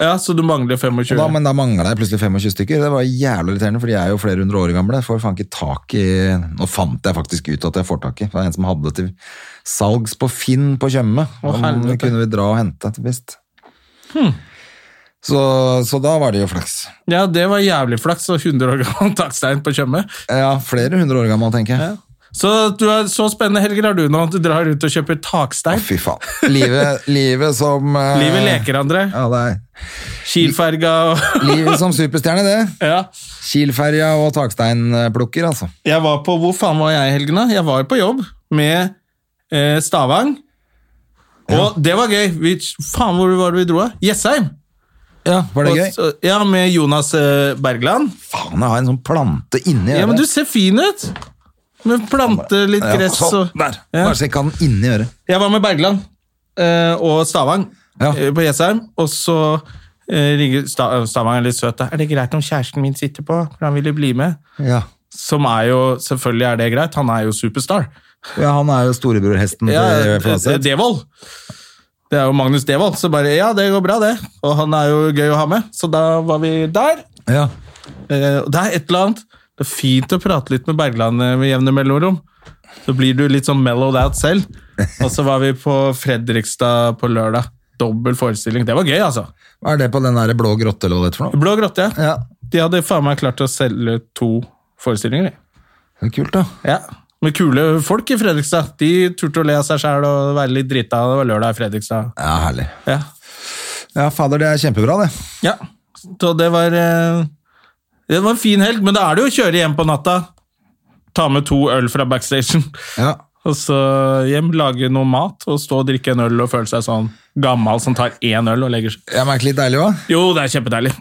Ja, Så du mangler
Og
25?
da, men da mangla jeg plutselig 25 stykker. Det var jævlig irriterende, for de er jo flere hundre år gamle. Jeg Får faen ikke tak i Nå fant jeg faktisk ut at jeg får tak i. Det var en som hadde det til salgs på Finn på Tjøme. Han
helvete. Hmm.
kunne vi dra og hente, visst. Så, så da var det jo flaks.
Ja, det var jævlig flaks, og 100 år gammel takstein på Tjøme.
Ja, flere hundre år gammel, tenker jeg.
Så, du er, så spennende helger har du nå. Du drar ut og kjøper takstein.
Fy faen. Livet, livet som eh,
Livet leker, André.
Ja, det er
Kielferga og
Livet som superstjerne, det.
Ja.
Kielferja og taksteinplukker, altså.
Jeg var på Hvor faen var jeg i helgen, da? Jeg var på jobb med eh, Stavang. Og det var gøy. Vi, faen, hvor var det vi dro? da? Jessheim!
Ja, Var det
Og
gøy?
så- Ja, med Jonas eh, Bergland.
Faen, jeg har en sånn plante inni
Ja,
øret.
men du ser fin ut! Med planter, litt
Ja,
gress
sånn,
og
Der!
Ja.
Bare sjekk han inni øret.
Jeg var med Bergland eh, og Stavang
Ja.
eh, på Jessheim, og så eh, ringer Sta Stavang er litt søt. da. Er det greit om kjæresten min sitter på? For han ville bli med.
Ja.
Som er jo, Selvfølgelig er det greit, han er jo superstar.
ja, han er jo storebrorhesten
Ja,
til
eh,
Flaset.
Devold. Det er jo Magnus Devold. Så bare Ja, det går bra, det. Og han er jo gøy å ha med. Så da var vi der.
Ja.
Eh, og det er et eller annet Det er fint å prate litt med Bergland eh, med jevne mellomrom. Så blir du litt sånn mellowed out selv. Og så var vi på Fredrikstad på lørdag. Dobbel forestilling. Det var gøy, altså.
Hva er det på den der blå grotte eller hva det er for noe?
Blå grotte, ja.
Ja,
De hadde faen meg klart å selge to forestillinger. de.
det er Kult, da.
Ja. Med kule folk i Fredrikstad. De turte å le av seg sjæl og være litt drita. Det var lørdag i Fredrikstad.
Ja, herlig.
Ja.
Ja, fader, det er kjempebra, det.
ja. Så det var eh, Det var en fin helg, men da er det jo å kjøre hjem på natta. Ta med to øl fra backstagen.
Ja.
Og så hjem, lage noe mat, og stå og drikke en øl og føle seg sånn gammel som tar én øl og legger seg.
Jeg merker litt deilig òg.
Jo, det er kjempedeilig.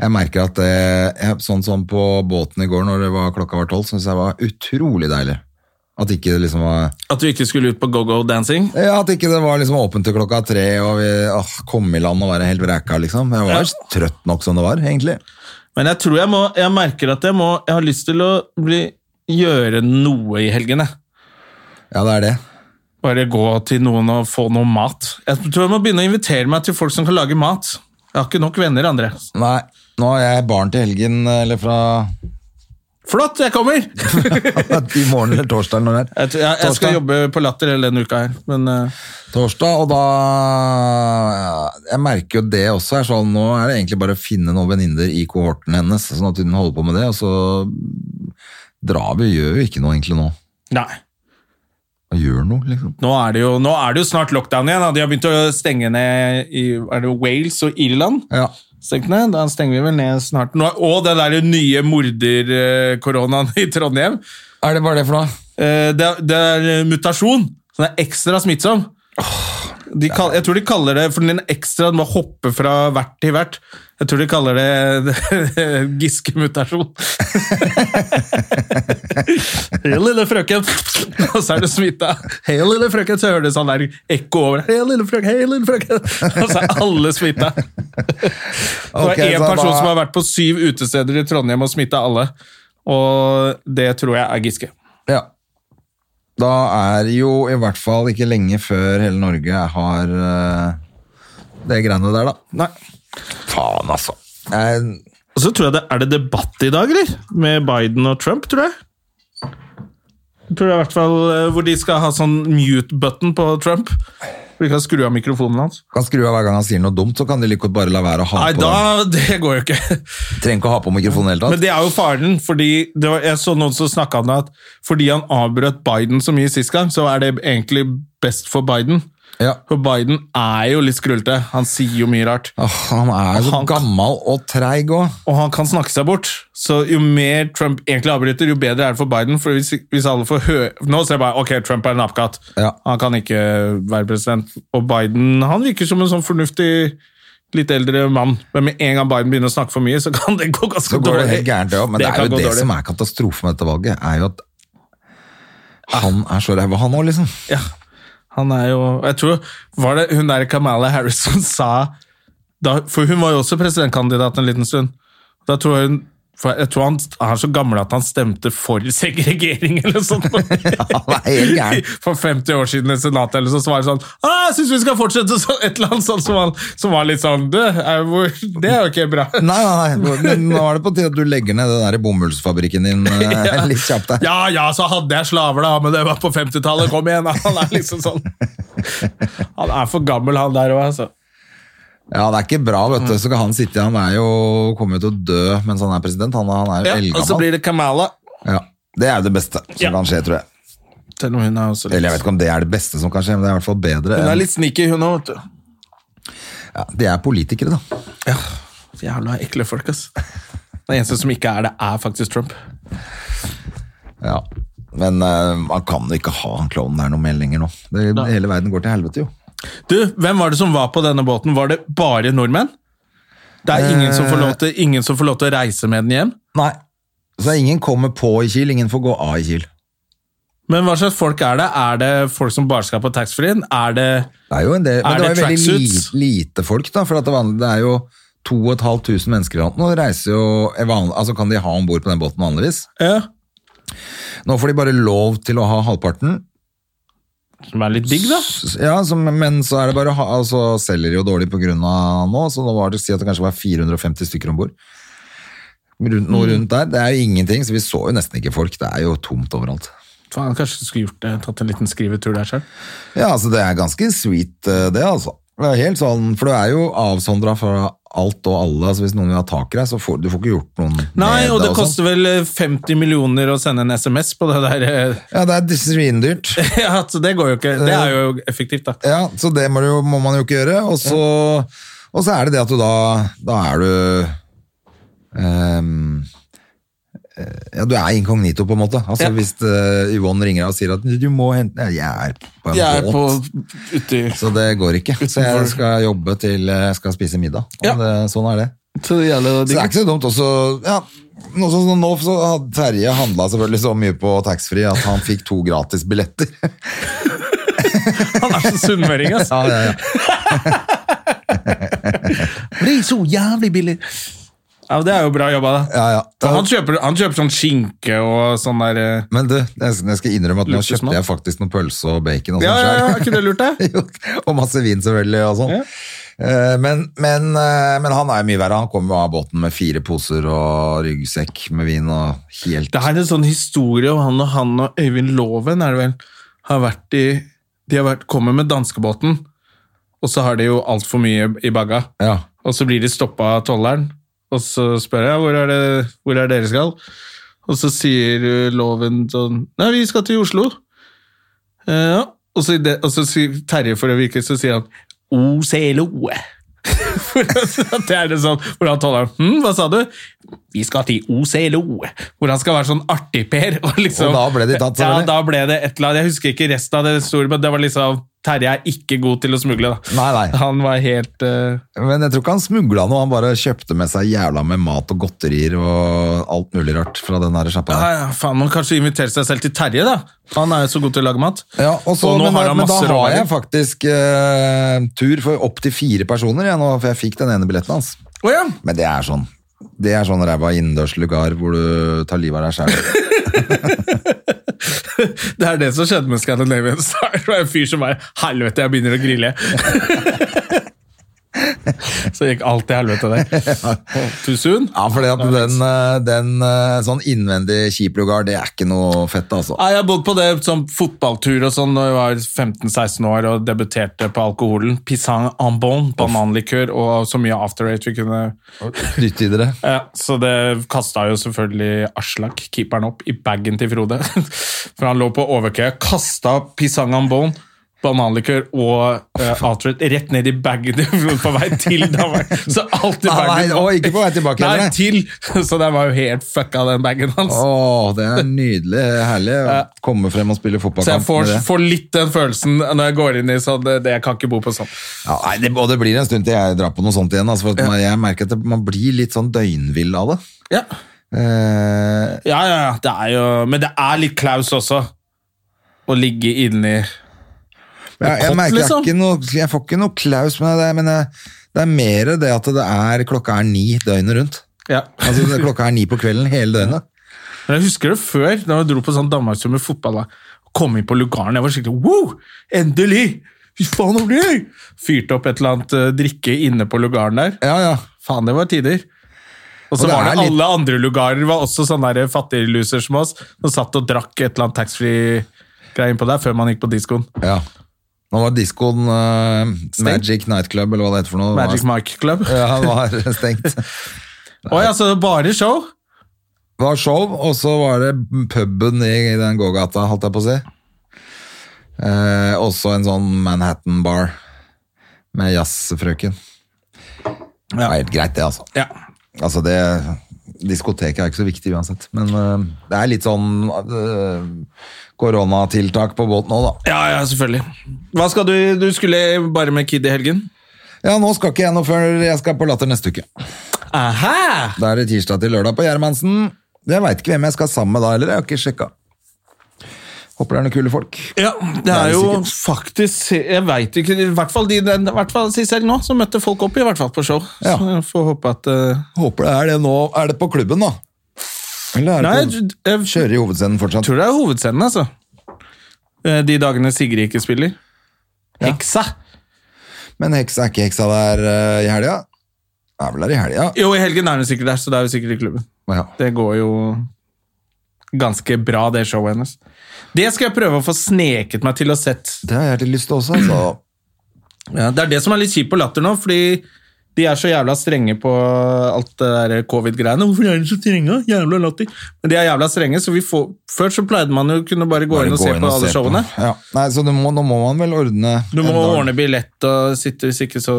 Jeg merker at eh, jeg, sånn som på båten i går når det var, klokka var tolv, syns jeg var utrolig deilig. At ikke det liksom var
At du ikke skulle ut på go-go-dancing.
Ja, At ikke det var liksom åpent til klokka tre og vi åh, kom i land og være helt vreka, liksom. Jeg var
Ja.
trøtt nok som det var, egentlig.
Men jeg tror jeg må Jeg merker at jeg må Jeg har lyst til å bli, gjøre noe i helgene.
Ja, det er det.
Bare gå til noen og få noe mat. Jeg tror jeg må begynne å invitere meg til folk som kan lage mat. Jeg har ikke nok venner, André.
Nei, nå er jeg barn til helgen, eller fra
Flott, jeg kommer! Jeg,
i morgen eller torsdag eller når det er.
tror- jeg, jeg
Torsdag.
skal jobbe på Latter hele denne uka her, men eh,
Torsdag, og da ja, Jeg merker jo det også er sånn, nå er det egentlig bare å finne noen venninner i kohorten hennes, sånn at hun holder på med det, og så drar vi, gjør jo ikke noe egentlig nå.
Nei.
Og gjør noe, liksom.
Nå er det jo, nå er det jo snart lockdown igjen. Da. De har begynt å stenge ned i er det Wales og Irland.
Ja.
Stengt ned. Da stenger vi vel ned snart. Nå, er- og den der nye morderkoronaen i Trondheim.
Er det bare det for noe?
Eh, Det, er- det er mutasjon, så den er ekstra smittsom. De kall, jeg tror de kaller det for den ekstra den må hoppe fra hvert til hvert. Jeg tror de kaller det Giske-mutasjon. Hei, lille frøken! Og så er du smitta. Hei, lille frøken! Så hører du sånn der ekko over. Hei, lille frøken! Hei, lille frøken! Og så er alle smitta. Det
Ok,
var én
så
person
da-
som har vært på syv utesteder i Trondheim og smitta alle. Og det tror jeg er Giske.
Ja. Da er jo i hvert fall ikke lenge før hele Norge har eh, det greiene der, da. Nei. Faen, altså. Jeg,
Og så tror jeg det er det debatt i dag, eller? Med Biden og Trump, tror jeg. Jeg Tror jeg i hvert fall eh, Hvor de skal ha sånn mute-button på Trump. Hvor de kan skru av mikrofonen hans.
kan skru av hver gang han sier noe dumt, så kan de like godt bare la være å ha
Nei,
på den.
da Det går jo ikke.
Trenger ikke å ha på mikrofonen i det hele
Men
tatt.
det er jo faren, fordi det var, jeg så noen som snakka om det, at fordi han avbrøt Biden så mye sist gang, så er det egentlig best for Biden.
Ja.
For Biden er jo litt skrullete. Han sier jo mye rart.
Åh, han er så
Han-
gammel og treig òg.
og han kan snakke seg bort. Så jo mer Trump egentlig avbryter, jo bedre er det for Biden. For hvis, hvis alle får høre Nå ser jeg bare ok, Trump er en apekatt.
Ja.
Han kan ikke være president. Og Biden han virker som en sånn fornuftig litt eldre mann, men med en gang Biden begynner å snakke for mye, så kan det gå ganske
Så går det
dårlig.
helt gærent, det òg. Men det,
kan
er jo
gå
det
dårlig.
som er katastrofen med dette valget, er jo at han er så ræva, han òg, liksom.
Ja, han er jo Jeg tror var det hun der Kamala Harris som sa da, For hun var jo også presidentkandidat en liten stund. Da tror jeg hun for jeg tror han er så gammel at han stemte for segregering eller sånt.
han er helt gæren.
For 50 år siden i Senatet eller så, så var det sånn «Ah, Jeg syns vi skal fortsette sånn! Et eller annet sånt som, han, som var litt sånn Det er jo, det er jo ikke bra.
Nei, nei, nei, men nå er det på tide at du legger ned den der bomullsfabrikken din eh, litt kjapt der.
Ja ja, så hadde jeg slaver, da, men det var på 50-tallet. Kom igjen! da. Han er liksom sånn Han er for gammel, han der òg, altså.
Ja, det er ikke bra, vet
Mm.
du. Så kan han sitte Han er jo kommer jo til å dø mens han er president. Han, er- han er jo
Ja, og så
eldgammel.
blir det Kamala.
Ja, det er jo det beste som
Ja.
kan skje, tror jeg.
Selv om hun er også litt
Eller jeg vet ikke om det er det beste som kan skje, men det er i hvert fall bedre.
Hun er
enn-
litt sneaky, hun òg, vet du.
ja, de er politikere, da.
Jævla ekle folk, ass. Den eneste som ikke er det, er faktisk Trump.
Ja. Men eh, man kan jo ikke ha han klovnen der noe mer lenger nå. Det, hele verden går til helvete, jo.
Du, hvem var det som var på denne båten? Var det bare nordmenn? Det er ingen som får lov til, ingen som får lov til å reise med den hjem.
Nei. Så ingen kommer på i Kiel, ingen får gå av i Kiel.
Men hva slags folk er det? Er det folk som bare skal på taxfree-en? Er det
Det er jo en del,
Er
men
det
det, var jo veldig li,
tracksuits?
lite folk, da. For at det, var, det er jo 2500 mennesker i anten, og det reiser jo er van- Altså kan de ha om bord på den båten vanligvis.
ja,
Nå får de bare lov til å ha halvparten.
Som er litt digg, da?
Ja, så, men så er det bare å ha altså, Selger jo dårlig på grunn av nå, så nå var det å si at det kanskje var 450 stykker om bord. Rundt,
Mm.
noe rundt der. Det er jo ingenting, så vi så jo nesten ikke folk. Det er jo tomt overalt.
Faen, kanskje du skulle gjort det, tatt en liten skrivetur der sjøl?
Ja, altså det er ganske sweet eh, det, altså. Det er helt sånn, for du er jo avsondra fra alt og alle. altså Hvis noen vil ha tak i deg, så får du får ikke gjort noen
Nei,
med
og det
sånn.
koster vel eh, 50 millioner å sende en SMS på det der eh,
Ja, det er svindyrt.
Ja, så det går jo ikke. Det er jo effektivt, da.
Ja, så det må, du, jo- må man jo ikke gjøre. Og så, og så er det det at du da Da er du ehm, eh, ja, Du er inkognito, på en måte. Altså
Ja.
Hvis eh, Yvonne ringer deg og sier at du må hente ja, Jeg er på en
Jeg er
båt.
på uti
Så det går ikke. Så jeg skal jobbe til eh, jeg skal spise middag. Og
Ja.
Det, sånn er det.
Så det gjelder
Så det er ikke så dumt også, ja, noe sånn som nå så hadde Terje handla selvfølgelig så mye på taxfree at han fikk to gratis billetter.
Han er så sunnmøring, ass.
Ja, ja, ja.
Blir så jævlig billig. Ja, men Det er jo bra jobba, da.
ja, ja.
Så han, kjøper, han kjøper sånn skinke og sånn der eh,
Men du, jeg skal- jeg skal innrømme at nå
Luksusmat.
kjøpte jeg faktisk noen pølse og bacon og
Ja,
sånn
ja, ja, er
selv.
ikke det lurt, det?
Jo, og masse vin selvfølgelig og sånn. Eh, Men, men, eh, men han er jo mye verre. Han kommer jo av båten med fire poser og ryggsekk med vin og helt
Det er en sånn historie om han og han og Øyvind Loven er det vel, har vært i De har vært, kommer med danskebåten, og så har de jo altfor mye i bagga.
Ja.
Og så blir de stoppa av tolleren, og så spør jeg hvor er det hvor er dere skal. Og så sier eh, loven sånn Nei, vi skal til Oslo. Eh, ja. og, så, i det, og så sier Terje, for å virke, så sier han OCLO. For at det er det sånn, hvor han tolleren hm, Hva sa du? Vi skal til OCLO. Hvor han skal være sånn artig-Per. Og, liksom,
Og da ble de tatt,
Ja,
selvfølgelig.
da ble det et eller annet. Jeg husker ikke resten av det store, men det var liksom Terje er ikke god til å smugle, da.
Nei, nei.
Han var helt eh,
Men jeg tror ikke han smugla noe, han bare kjøpte med seg jævla med mat og godterier og alt mulig rart fra den der
Ja,
sjappa. der.
ja, faen, man kanskje invitere seg selv til Terje, da. Han er jo så god til å lage mat.
Ja, og så,
nå
men,
har han
men da
masse
har jeg
råvarer.
faktisk eh, tur for opptil fire personer, jeg, nå, for jeg fikk den ene billetten hans.
Å ja.
Men det er sånn. Det er sånn ræva innendørs lugar hvor du tar livet av deg sjæl.
Det er det som skjedde med Scandinavian Star. Det var en fyr som bare Helvete, jeg begynner å grille. så gikk alt til helvete der. Too soon?
Ja, for at den, eh, den eh, sånn innvendig kjip lugar, det er ikke noe fett, altså.
Nei, Jeg har bodd på det som fotballtur og sånn da jeg var 15-16 år og debuterte på alkoholen. Pisang en bon, bananlikør og så mye after eight vi kunne
Dytt i dere.
Ja, så det kasta jo selvfølgelig Aslak, keeperen, opp i bagen til Frode. For han lå på overkøya, kasta pisang en bon bananlikør og uh, outright rett ned i bagen på vei til Danmark. Så alt i
Ah, nei,
bagen
og ikke på vei tilbake
Nei,
heller, nei.
til! Så den var jo helt fucka, den bagen hans.
Å, det er nydelig. Herlig å komme frem og spille
Så jeg
fotballkamp
får,
med det.
får litt den følelsen når jeg går inn i sånn det, det, Jeg kan ikke bo på sånn.
Ja, nei, det, og det blir en stund til jeg drar på noe sånt igjen. Altså, for at man, jeg merker at det, man blir litt sånn døgnvill av det.
Ja,
Eh,
ja, ja. ja, Det er jo, men det er litt Klaus også. Å ligge inni
jeg, jeg
Kott,
merker
liksom.
jeg, ikke noe, jeg får ikke noe klaus, men, det, men jeg, det er mer det at det er, klokka er ni døgnet rundt.
ja.
Altså, det- klokka er ni på kvelden hele døgnet.
Men jeg husker det før, da jeg dro på sånn Danmarkstur med fotball. da Kom inn på lugaren, jeg var skikkelig wow! Endelig! Fy faen, det blir gøy! Fyrte opp et eller annet eh, drikke inne på lugaren der.
Ja, ja.
Faen, det var tider. Og
Og
så
det
var
er
det
litt-
alle andre lugarer var også sånne der fattigluser som oss, som satt og drakk et eller annet taxfree-greie innpå der før man gikk på diskoen.
ja. Nå var diskoen eh, Magic Nightclub, eller hva det heter for noe.
Magic
var,
Mike Club. Å
ja, var stengt.
ja, så det var bare show?
Det var show, og så var det puben i, i den gågata, holdt jeg på å si. Eh, også en sånn Manhattan bar med jazzfrøken. Det var helt greit, det, altså.
Ja.
Altså, det Diskoteket er ikke så viktig uansett, men eh, det er litt sånn eh, koronatiltak på båten nå, da.
ja, ja, selvfølgelig. Hva skal du Du skulle bare med Kid i helgen?
Ja, nå skal ikke jeg noe før jeg skal på Latter neste uke.
Aha!
Da er det tirsdag til lørdag på Gjermansen. Jeg veit ikke hvem jeg skal sammen med da heller, jeg har ikke sjekka. Håper det er noen kule folk.
Ja, det
er
er
det
jo
sikkert.
faktisk Jeg veit ikke I hvert fall, de, den, i hvert fall si selv nå, så møtte folk opp i hvert fall på show.
Ja.
Så jeg får håpe at eh,
Håper det er det nå. Er det på klubben, da? Eller er
Nei,
det
jeg, jeg,
på Kjøre i hovedscenen fortsatt?
tror det er hovedscenen, altså. Eh, De dagene Sigrid ikke spiller. Heksa!
Men heksa er ikke heksa der eh, i helga? Er vel der i helga?
Jo, i helgen er hun sikkert der, så det er hun sikkert i klubben.
Ja.
Det går jo ganske bra, det showet hennes. Det skal jeg prøve å få sneket meg til å sett.
Det har jeg litt lyst til også, altså.
Ja, det er det som er litt kjipt på latter nå, fordi de er så jævla strenge på alt det der covid-greiene. Hvorfor er de så strenge? Jævla latter. Men de er jævla strenge, så vi får... Før så pleide man jo å kunne bare gå
Bare
inn og
gå
se
inn
på
og
alle
se
showene.
Ja. Nei, så det må, nå må man vel ordne
Du må
en dag.
ordne billett og sitte, hvis ikke så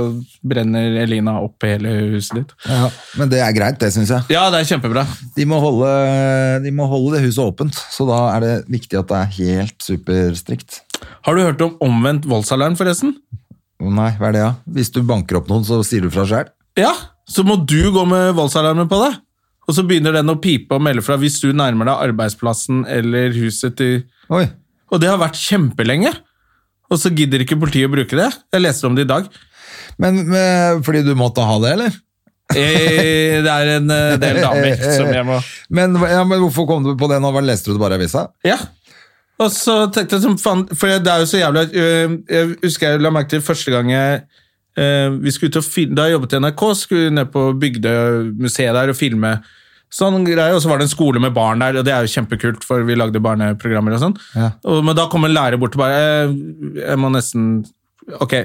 brenner Elina opp hele huset ditt.
ja. Men det er greit, det syns jeg.
Ja, det er kjempebra.
De må, holde, de må holde det huset åpent, så da er det viktig at det er helt superstrikt.
Har du hørt om omvendt voldsalarm forresten?
Å Nei, hva er det, ja? Hvis du banker opp noen, så sier du fra sjæl?
Ja, så må du gå med voldsalarmen på deg. Og så begynner den å pipe og melde fra hvis du nærmer deg arbeidsplassen eller huset til...
Oi.
Og det har vært kjempelenge. Og så gidder ikke politiet å bruke det. Jeg leste om det i dag.
Men, men fordi du måtte ha det, eller?
Eh, Det er en eh, del damer som jeg må
Men, ja, men hvorfor kom du på det nå? Hva Leste du det bare i avisa?
Ja. Og så tenkte jeg som faen For det er jo så jævlig øh, Jeg husker jeg la merke til første gang jeg øh, vi skulle ut og film, Da jeg jobbet i NRK, skulle vi ned på Bygdøymuseet der og filme sånn greie. Og så var det en skole med barn der, og det er jo kjempekult, for vi lagde barneprogrammer og sånn.
Ja.
Og, men da kom en lærer bort og bare «Eh, Jeg må nesten Ok,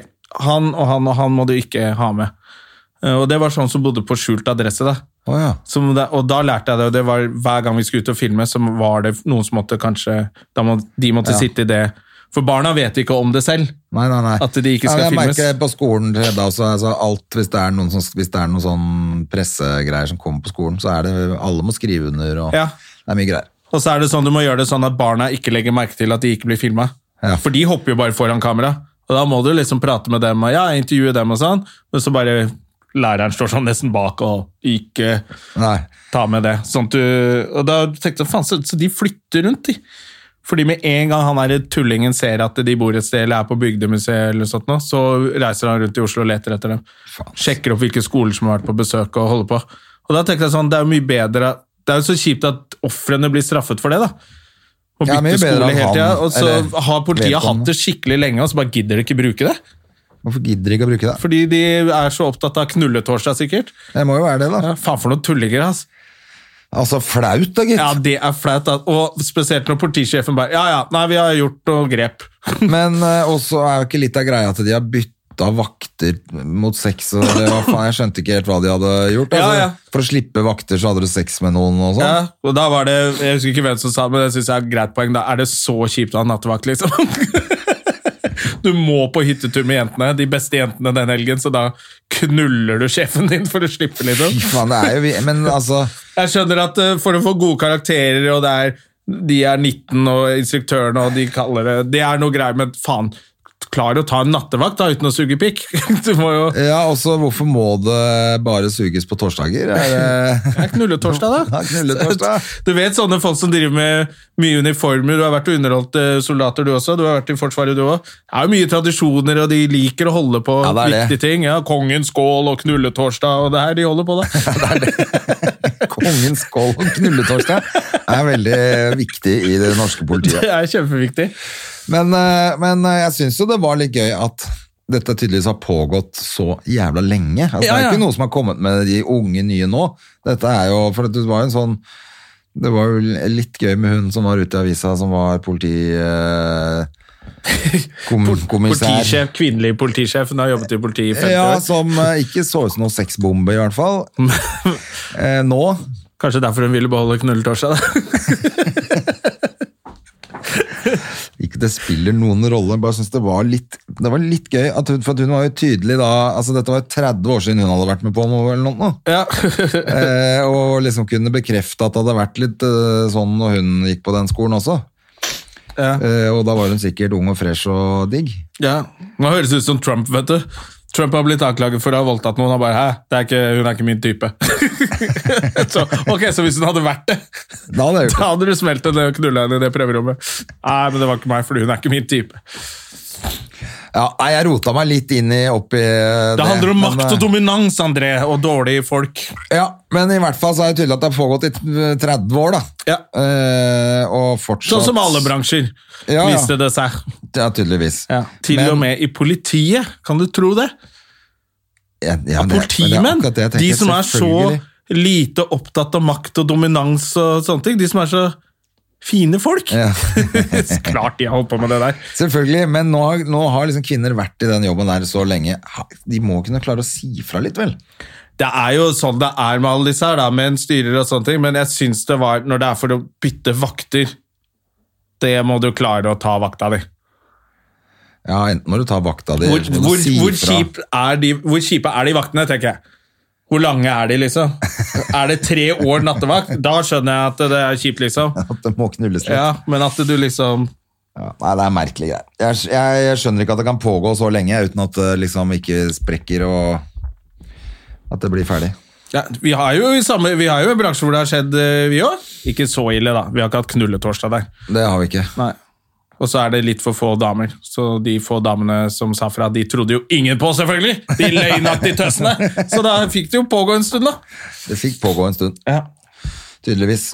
han og han og han må du ikke ha med. Eh, Og det var sånn som bodde på skjult adresse, da.
Å ja.
Som det, og da lærte jeg det, og det var hver gang vi skulle ut og filme, så var det noen som måtte kanskje da må, De måtte
Ja.
sitte i det. For barna vet ikke om det selv.
Nei, nei, nei.
At de ikke skal
ja, jeg
filmes.
merker på skolen til Hedda også, altså alt, hvis det er noen, sånn, hvis det er noen sånn pressegreier som kommer på skolen, så er det alle må skrive under, og
Ja.
det er mye greier.
Og så er det sånn du må gjøre det sånn at barna ikke legger merke til at de ikke blir filma.
Ja.
For de hopper jo bare foran kamera. Og da må du liksom prate med dem og ja, intervjue dem og sånn, men så bare Læreren står sånn nesten bak og ikke
Nei.
ta med det. Sånn at du, og da tenkte jeg, faen, så, så de flytter rundt, de. Fordi med en gang han her tullingen ser at de bor et sted eller er på Bygdemuseet, eller sånt nå, så reiser han rundt i Oslo og leter etter dem. Sjekker opp hvilke skoler som har vært på besøk og holder på. Og da tenkte jeg sånn, det er jo mye bedre Det er jo så kjipt at ofrene blir straffet for det, da. Å
Ja,
bytte
mye bedre
skole
at
hele
han,
tida. Og
eller
så har politiet
vedkommende.
hatt det skikkelig lenge, og så bare gidder de ikke bruke det.
Hvorfor gidder de ikke å bruke det?
Fordi de er så opptatt av knulletorsdag, sikkert.
Det må jo være det, da.
Ja, faen for noen tullinger, altså.
Altså, flaut da, gitt.
Ja, det er flaut. da. Og spesielt når politisjefen bare Ja, ja, nei, vi har gjort noe grep.
Men eh, også er jo ikke litt av greia at de har bytta vakter mot sex, og det var faen, jeg skjønte ikke helt hva de hadde gjort.
Ja,
Altså,
ja.
For å slippe vakter så hadde du sex med noen og sånn.
Ja, og da var det Jeg husker ikke hvem som sa det, men det syns jeg er et greit poeng. Da er det så kjipt å ha nattevakt, liksom. Du må på hyttetur med jentene, de beste jentene den helgen, så da knuller du sjefen din for å slippe litt. opp.
Fy faen, det er jo vi- Men altså
Jeg skjønner at eh, for å få gode karakterer, og det er, de er 19, og instruktørene og de kaller det Det er noe greier, men faen. Klar å ta en nattevakt da, uten å suge pikk. Du må jo
Ja, også hvorfor må det bare suges på torsdager? Er det
Det er knulletorsdag, da.
Ja, knulletorsdag.
Du vet sånne folk som driver med mye uniformer. Du har vært og underholdt eh, soldater, du også. Du har vært i Forsvaret, du òg. Det er jo mye tradisjoner, og de liker å holde på
Ja, det er
viktige
det.
ting. Ja, Kongens skål og knulletorsdag og det her de holder på, da.
Kongens skål og knulletorsdag er veldig viktig i det norske politiet.
Det er kjempeviktig.
Men, eh, men eh, jeg syns jo det var litt gøy at dette tydeligvis har pågått så jævla lenge.
Ja,
Altså, Det
ja.
er ikke noe som har kommet med de unge nye nå. Dette er jo, for det var jo en sånn Det var jo litt gøy med hun som var ute i avisa, som var politi... Eh, kom, kommissær.
Politisjef, Kvinnelig politisjef. Hun har jobbet i politiet i 50
Ja,
år.
som eh, ikke så ut som noen sexbombe, i hvert fall. Eh, nå.
Kanskje derfor hun ville beholde knulletorsdag. da.
Ikke det spiller noen rolle, bare synes det var litt, det var litt gøy. At hun, for at hun var jo tydelig da altså Dette var jo 30 år siden hun hadde vært med på noe. eller noe.
Ja.
Eh, og liksom kunne bekrefte at det hadde vært litt eh, sånn når hun gikk på den skolen også.
Ja.
Eh, og da var hun sikkert ung og fresh og digg.
Ja, Nå høres det ut som Trump, vet du. Trump har blitt anklaget for å ha voldtatt noen. og bare, hæ, det er ikke, Hun er ikke min type. så, ok, så hvis hun hadde vært det,
Da hadde jeg gjort det.
da hadde du smelt henne og knulla henne i det prøverommet. Nei, men det var ikke meg, fordi hun er ikke min type.
Ja, nei, jeg rota meg litt inn i opp i eh,
Det handler om
men,
makt
eh,
og dominans, André, og dårlige folk.
Ja, men i hvert fall så er det tydelig at det har pågått i eh, 30 år, da.
Ja.
Eh, og fortsatt
Sånn som alle bransjer,
Ja, ja.
viste det seg.
Ja, tydeligvis.
Til
Men-
og med i politiet, kan du tro det?
Ja, ja,
Av
det- men
politimenn!
det er akkurat det jeg
De
tenker,
som er så
selvfølgelig.
lite opptatt av makt og dominans og sånne ting. De som er så fine folk.
Ja.
Klart de har holdt på med det der.
Selvfølgelig, men nå, har- nå har liksom kvinner vært i den jobben der så lenge. Ha- De må kunne klare å si fra litt, vel?
Det er jo sånn det er med alle disse her, da, med en styrer og sånne ting, men jeg syns det var Når det er for å bytte vakter, det må du klare å ta vakta di.
Ja, enten må du ta vakta di,
Hvor,
eller så må du
hvor,
si
hvor,
fra.
kjip er de, hvor kjipe er de vaktene, tenker jeg. Hvor lange er de, liksom? Er det tre år nattevakt? Da skjønner jeg at det er kjipt, liksom.
At det må knulles litt. Ja.
Ja, Men at du liksom
Nei, det er merkelig greier. Jeg, sk- jeg, jeg skjønner ikke at det kan pågå så lenge uten at det liksom ikke sprekker og at det blir ferdig.
ja, vi, har jo i samme, vi har jo en bransje hvor det har skjedd, eh, vi òg. Ikke så ille, da. Vi har ikke hatt knulletorsdag der.
Det har vi ikke.
Nei. Og så er det litt for få damer. Så de få damene som sa fra, de trodde jo ingen på, selvfølgelig! De løgnaktige tøsene! Så da fikk det jo pågå en stund, da.
Det fikk pågå en stund, tydeligvis.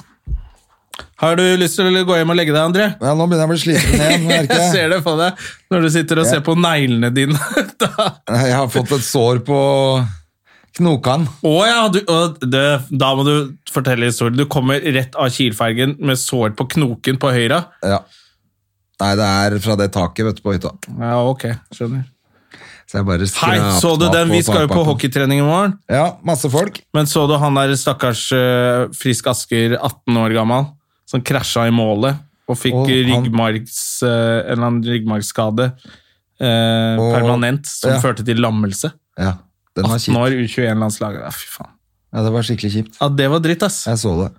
Har du lyst til å gå hjem og legge deg, André?
Ja, nå begynner jeg å bli sliten igjen, merker
Jeg
jeg.
ser det på deg når du sitter og ser på neglene dine. Da.
Jeg har fått et sår på knokene.
Å ja, du, å, det, da må du fortelle historien. Du kommer rett av Kielfergen med sår på knoken på høyre.
Ja. Nei, det er fra det taket vet du, på hytta.
Ja, ok, skjønner.
Så jeg bare
Hei,
skrapte
så du
meg
den? Vi skal jo på
takpakken.
hockeytrening i morgen.
Ja, masse folk.
Men så du han der stakkars eh, Frisk Asker, 18 år gammel, som krasja i målet og fikk
Og han-
ryggmargs, eh, en eller annen ryggmargsskade eh,
Og-
permanent, som
ja.
førte til lammelse.
Ja, den var
18
kjipt.
år, U21-landslaget. Ja, fy faen.
Ja, det var skikkelig kjipt.
Ja, det var dritt, ass.
Jeg så det.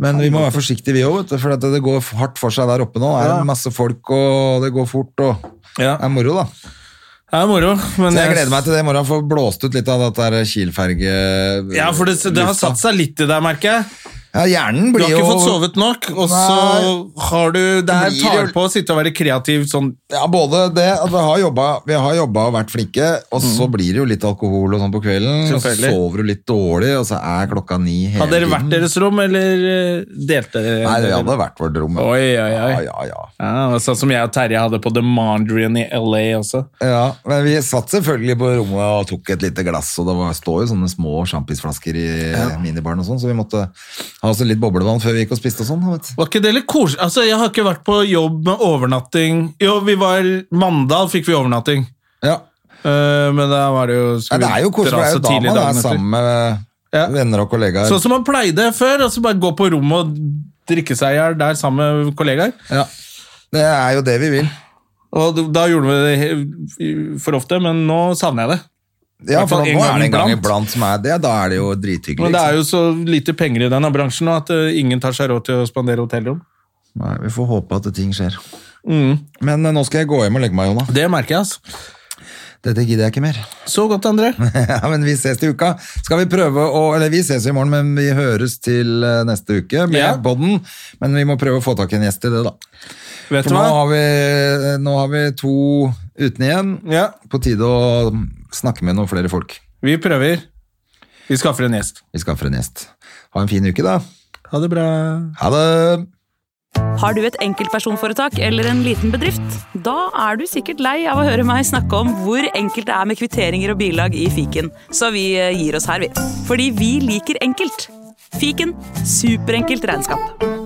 Men vi må være forsiktige vi òg, for at det går hardt for seg der oppe nå. Det
Ja.
er masse folk, og det går fort, og
Ja.
det er moro, da.
Det er moro. Men
Så jeg gleder meg til det i morgen, få blåst ut litt av dette der Kiel-ferge...
Ja, for det, det har
lufta.
satt seg litt i deg, merker jeg.
Ja, hjernen
Du
blir
har
jo
ikke fått sovet nok, og så har du Det her
Blir
tar
jo-
på å sitte og være kreativ sånn
Ja, både det at vi har jobba, vi har jobba og vært flinke, og så blir det jo litt alkohol og sånn på kvelden. Og så
Mhm. Selvfølgelig.
sover du litt dårlig, og så er klokka ni hele
Hadde dere vært deres rom, eller eh, delte dere?
Nei, vi hadde vært vårt rom. ja.
Oi, oi, oi.
Ja, ja, ja.
Ja, det var sånn som jeg og Terje hadde på The Mondrian i LA også.
Ja, men vi satt selvfølgelig på rommet og tok et lite glass, og det var, står jo sånne små sjampisflasker i minibaren og sånn, så vi måtte ha oss litt boblevann før vi gikk og spiste og sånn. Vet. du.
Var ikke det litt koselig? Altså, jeg har ikke vært på jobb med overnatting. Jo, vi var Mandal fikk vi overnatting.
Ja.
Eh, men da var det jo
Nei, det er jo koselig, det er jo da man er sammen med
Ja.
venner og kollegaer.
Sånn som man pleide før. Altså bare gå på rommet og drikke seg i hjel der sammen med kollegaer.
ja. Det er jo det vi vil.
Og da gjorde vi det for ofte, men nå savner jeg det.
Ja,
hvert fall
for
en
nå er det en gang
gang iblant.
iblant som er det. Da er det jo drithyggelig.
Men det
ikke
er jo så lite penger i denne bransjen nå at eh, ingen tar seg råd til å spandere hotellrom.
sant? liksom. Nei, vi får håpe at ting skjer.
Mm.
Men eh, nå skal jeg gå hjem og legge meg, Jonna.
Det merker jeg, altså.
Dette gidder jeg ikke mer.
Så godt, André.
ja, men vi ses til uka. Skal vi prøve å Eller vi ses i morgen, men vi høres til eh, neste uke med
Ja.
podden. Men vi må prøve å få tak i en gjest til det, da.
Vet
For
du
nå
hva?
har, vi, eh, nå har vi to uten igjen.
Ja.
På tide å snakke med noen flere folk.
Vi prøver. Vi skaffer en gjest.
Vi skaffer en gjest. Ha en fin uke, da.
Ha det bra.
Ha det!
Har du et enkeltpersonforetak eller en liten bedrift? Da er du sikkert lei av å høre meg snakke om hvor enkelt det er med kvitteringer og bilag i fiken, så vi eh, gir oss her, vi. Fordi vi liker enkelt. Fiken superenkelt regnskap.